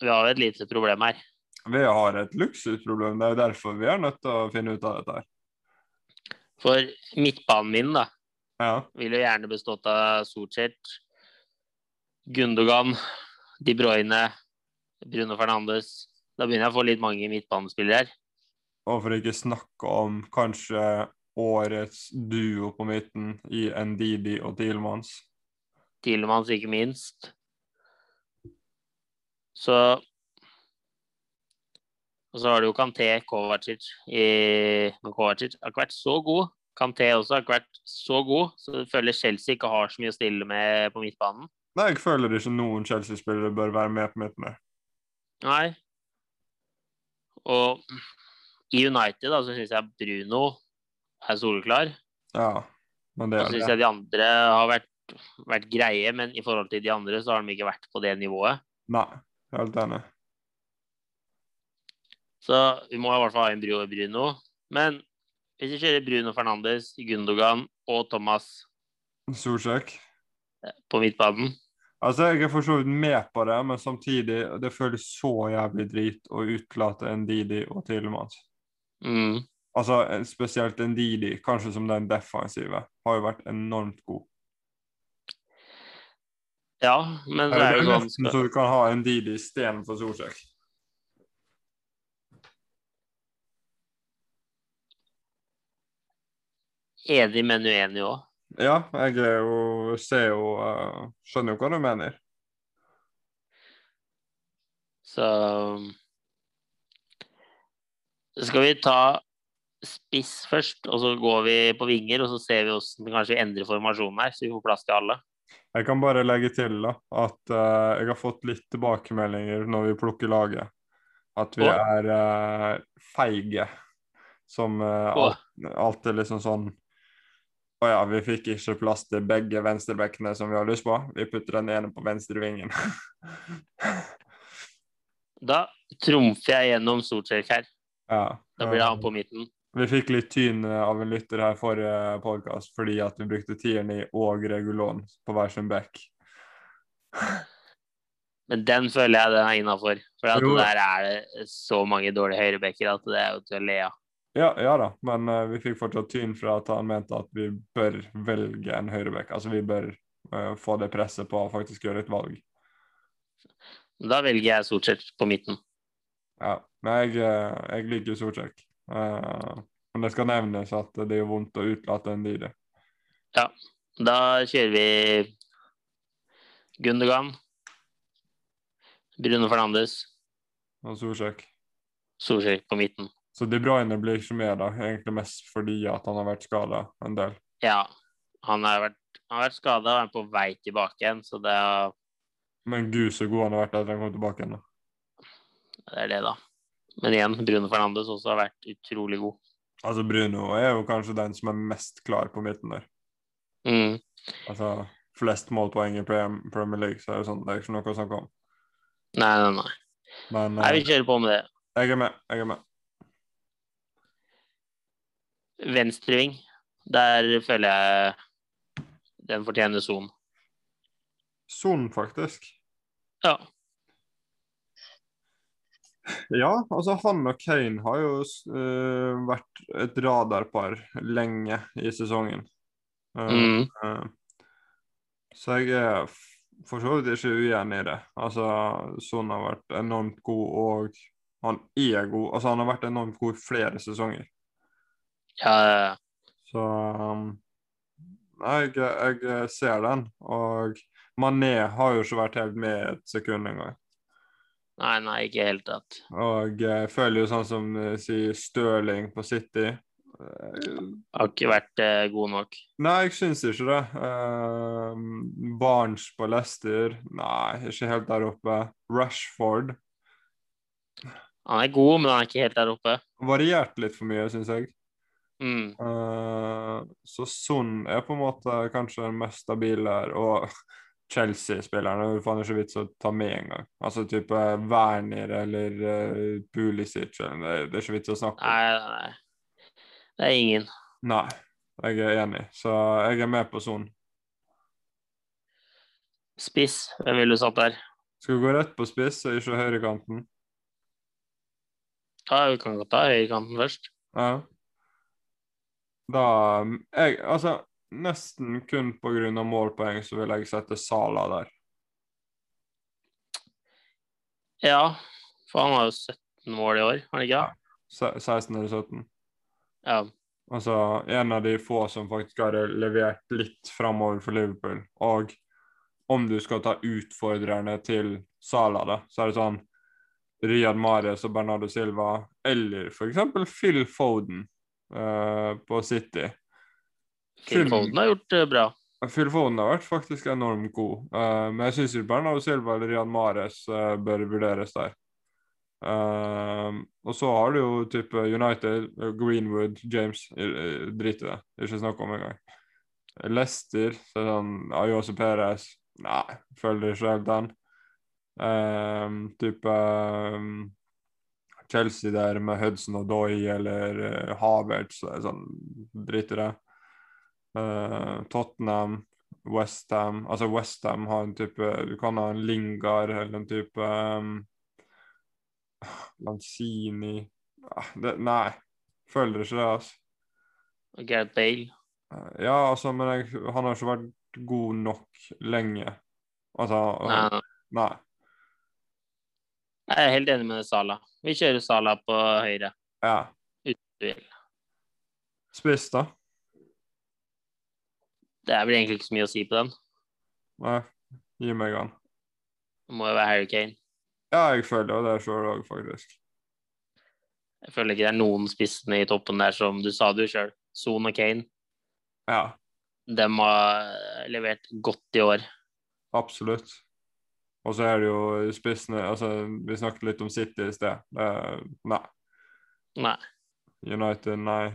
Speaker 1: vi har jo et lite problem her.
Speaker 2: Vi har et luksusproblem. Det er jo derfor vi er nødt til å finne ut av dette. her.
Speaker 1: For midtbanen min, da,
Speaker 2: Ja.
Speaker 1: vil jo gjerne bestått av Sotic, Gundogan, De Bruyne, Bruno Fernandes. Da begynner jeg å få litt mange midtbanespillere her.
Speaker 2: Og for ikke snakke om kanskje årets duo på midten i Ndidi og Tielmanns.
Speaker 1: Tilemans, ikke minst. Så Og så har du jo Kanté Kovacic i Men Kovacic har ikke vært så god. Kanté også har ikke vært så god, så jeg føler Chelsea ikke har så mye å stille med på midtbanen.
Speaker 2: Nei, jeg føler ikke noen Chelsea-spillere bør være med på midten der.
Speaker 1: Nei. Og i United da, så syns jeg Bruno er soleklar.
Speaker 2: Ja, men det
Speaker 1: Og så
Speaker 2: er det.
Speaker 1: syns Altså, jeg de andre har vært, vært greie, men i forhold til de andre så har de ikke vært på det nivået.
Speaker 2: Nei, helt enig.
Speaker 1: Så vi må i hvert fall ha inn Bru- Bruno. Men hvis vi kjører Bruno Fernandes, Gundogan og Thomas
Speaker 2: Solsjekk.
Speaker 1: på midtbanen
Speaker 2: Altså, jeg er for så vidt med på det, men samtidig, det føles så jævlig drit å utelate Ndidi og Tielmanns.
Speaker 1: mm.
Speaker 2: Altså, spesielt Ndidi, kanskje som den defensive, har jo vært enormt god.
Speaker 1: Ja, men så
Speaker 2: det
Speaker 1: er
Speaker 2: er
Speaker 1: det jo sånn
Speaker 2: nesten så du kan ha en Didi istedenfor Solsjekk.
Speaker 1: Enig, men uenig òg.
Speaker 2: Ja, jeg er jo, ser jo eh, Skjønner jo hva du mener.
Speaker 1: Så skal vi ta spiss først, og så går vi på vinger, og så ser vi hvordan kanskje vi endrer formasjonen her, så vi får plass til alle.
Speaker 2: Jeg kan bare legge til da, at eh, jeg har fått litt tilbakemeldinger når vi plukker laget. At vi
Speaker 1: Å.
Speaker 2: er eh, feige. Som eh,
Speaker 1: Åh.
Speaker 2: alt- alt er liksom sånn Å ja, vi fikk ikke plass til begge venstrebekkene som vi har lyst på. Vi putter den ene på venstrevingen.
Speaker 1: Da trumfer jeg gjennom Solskjær her.
Speaker 2: ja.
Speaker 1: Da blir det han på midten.
Speaker 2: Vi fikk litt tyn eh, av en lytter her forrige podkast fordi at vi brukte tierne i og regulon på hver sin bekk.
Speaker 1: Men den føler jeg den er innafor. For at
Speaker 2: Jo.
Speaker 1: der er det så mange dårlige høyrebekker at det er jo til å le av.
Speaker 2: Ja, ja da, men eh, vi fikk fortsatt tyn fra at han mente at vi bør velge en høyrebekk. Altså vi bør eh, få det presset på å faktisk gjøre et valg.
Speaker 1: Da velger jeg Solskjær på midten.
Speaker 2: Ja, men jeg, eh, jeg liker Sortjek. Eh, men det skal nevnes at det er jo vondt å utelate en Didi.
Speaker 1: Da kjører vi Gundergan, Bruno Fernandes,
Speaker 2: og Sortjek.
Speaker 1: Solskjær på midten.
Speaker 2: Så De Bruyne blir ikke med, da. Egentlig mest fordi at han har vært skada en del.
Speaker 1: Ja, han har vært, han har vært skada og er på vei tilbake igjen, så det er,
Speaker 2: Men gud så god han har vært etter han kom tilbake igjen. da.
Speaker 1: det er det, da. Men igjen, Bruno Fernandes også har vært utrolig god.
Speaker 2: Altså Bruno er jo kanskje den som er mest klar på midten der.
Speaker 1: Mm.
Speaker 2: Altså flest målpoeng i Prem- Premier League, så er det jo sånn, det er ikke noe å snakke om.
Speaker 1: Nei, nei, nei.
Speaker 2: Men
Speaker 1: Nei, vi
Speaker 2: eh,
Speaker 1: kjører på med det.
Speaker 2: jeg er med. jeg er med.
Speaker 1: Venstreving. Der føler jeg den fortjener Son.
Speaker 2: Son, faktisk.
Speaker 1: Ja.
Speaker 2: Ja, altså han og Kane har jo eh, vært et radarpar lenge i sesongen. Eh,
Speaker 1: Mm.
Speaker 2: eh, så jeg er f- for så vidt ikke uenig i det. Altså, Son har vært enormt god, og han er god. Altså, han har vært enormt god i flere sesonger.
Speaker 1: ja ja.
Speaker 2: Så um, nei, jeg, jeg ser den. Og Mané har jo ikke vært helt med et sekund engang.
Speaker 1: nei, nei, ikke i det hele tatt.
Speaker 2: Og jeg føler jo sånn som eh, sier Stirling på City Eh,
Speaker 1: Har ikke vært eh, god nok.
Speaker 2: Nei, jeg syns ikke det. Eh, Barnes på Leicester Nei, ikke helt der oppe. Rashford
Speaker 1: Han er god, men han er ikke helt der oppe.
Speaker 2: varierte litt for mye, syns jeg.
Speaker 1: Mm.
Speaker 2: Eh, så Son er på en måte kanskje den mest stabile her, og Chelsea-spillerne er det faen ikke vits å ta med engang. Altså type Werner eller eh, Pulisic eller det, det er ikke vits å snakke om.
Speaker 1: Nei, nei, nei. Det er ingen.
Speaker 2: Nei, jeg er enig, så jeg er med på Son.
Speaker 1: Spiss. Hvem ville du satt der?
Speaker 2: Skal vi gå rett på spiss og ikke høyrekanten?
Speaker 1: Ja, vi kan godt ta høyrekanten først.
Speaker 2: Ja. Da jeg, Altså, nesten kun på grunn av målpoeng så vil jeg sette Sala der.
Speaker 1: Ja, for han har jo 17 mål i år, har han ikke det?
Speaker 2: Se- 16 eller 17.
Speaker 1: Ja.
Speaker 2: Altså, en av de få som faktisk har levert litt framover for Liverpool. Og om du skal ta utfordrerne til Salah, da, så er det sånn Riyad Mahrez og Bernardo Silva, eller for eksempel Phil Foden eh, på City.
Speaker 1: Phil
Speaker 2: Kun-
Speaker 1: Foden har gjort det bra.
Speaker 2: Phil Foden har vært faktisk enormt god, eh, men jeg syns Bernardo Silva eller Riyad Mahrez eh, bør vurderes der. Eh, og så har du jo type United, Greenwood, James eh, Drit i det. Ikke snakk om engang. Leicester, så er det sånn Ayose Perez Nei, følger ikke helt den. Eh, type eh, Chelsea der med Hudson og Doy eller eh, Havertz, så er det sånn Drit i det. Eh, Tottenham, Westham Altså Westham har en type Du kan ha en Lingard eller en type um, Lanzini Ah, det, Nei, føler ikke det, altså.
Speaker 1: Og Gareth Bale.
Speaker 2: Eh, Ja, altså, men jeg, han har ikke vært god nok lenge. Altså
Speaker 1: Nei,
Speaker 2: Nei.
Speaker 1: nei. Jeg er helt enig med Sala. Vi kjører Sala på høyre.
Speaker 2: Ja.
Speaker 1: duell.
Speaker 2: Spiss, da?
Speaker 1: Det er vel egentlig ikke så mye å si på den.
Speaker 2: Nei, gi meg han.
Speaker 1: Det må jo være Harry Kane.
Speaker 2: Ja, jeg føler jo det sjøl òg, faktisk.
Speaker 1: Jeg føler ikke det er noen spissene i toppen der som du sa det jo sjøl. Son og Kane.
Speaker 2: Ja,
Speaker 1: De har levert godt i år.
Speaker 2: Absolutt. Og så er det jo spissene altså, Vi snakket litt om City i sted. Det, nei.
Speaker 1: Nei.
Speaker 2: United, nei.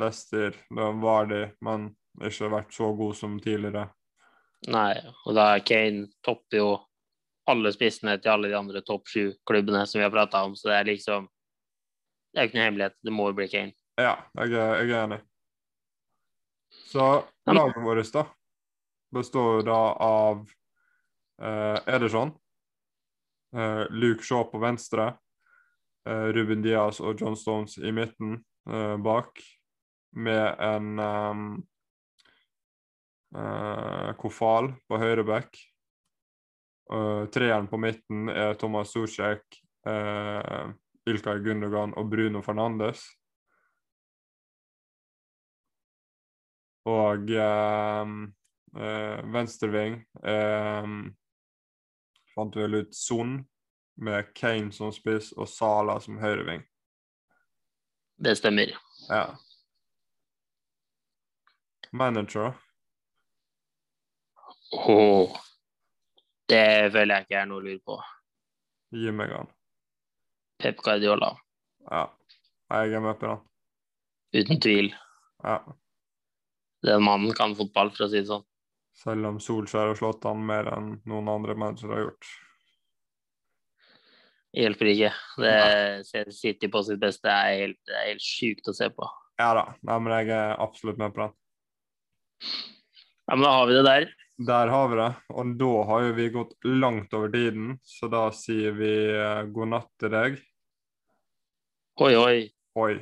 Speaker 2: Leicester, det var de, men ikke vært så god som tidligere.
Speaker 1: Nei, og da er Kane topper jo alle spissene til alle de andre topp sju-klubbene som vi har prata om, så det er liksom Det er jo ikke noe hemmelighet. Det må jo bli Kane.
Speaker 2: Ja, jeg er, jeg er enig. Så
Speaker 1: men-
Speaker 2: laget vårt, da, består jo da av eh, Ederson, eh, Luke Shaw på venstre, eh, Ruben Diaz og John Stones i midten eh, bak, med en ehm, eh, Kofal på høyre back. Eh, treeren på midten er Thomas Suchek, eh, Ilkay Gundogan og Bruno Fernandes. Og ehm, eh, venstreving ehm, fant vel ut Son med Kane som spiss og Sala som høyreving.
Speaker 1: Det stemmer.
Speaker 2: Ja. Manager.
Speaker 1: Åh. Det føler jeg ikke er noe å lure på.
Speaker 2: Gi meg han.
Speaker 1: Pep Guardiola,
Speaker 2: Ja. Jeg er med på den.
Speaker 1: uten tvil.
Speaker 2: Ja.
Speaker 1: Den mannen kan fotball, for å si det sånn.
Speaker 2: Selv om Solskjær har slått han mer enn noen andre managere har gjort.
Speaker 1: Hjelper ikke. Det ser City på sitt beste Det er helt, det er helt sjukt å se på.
Speaker 2: Ja da. Nei, men jeg er absolutt med på den.
Speaker 1: Ja, men da har vi det der.
Speaker 2: Der har vi det. Og da har jo vi gått langt over tiden, så da sier vi eh, god natt til deg.
Speaker 1: Oi, oi.
Speaker 2: Oi.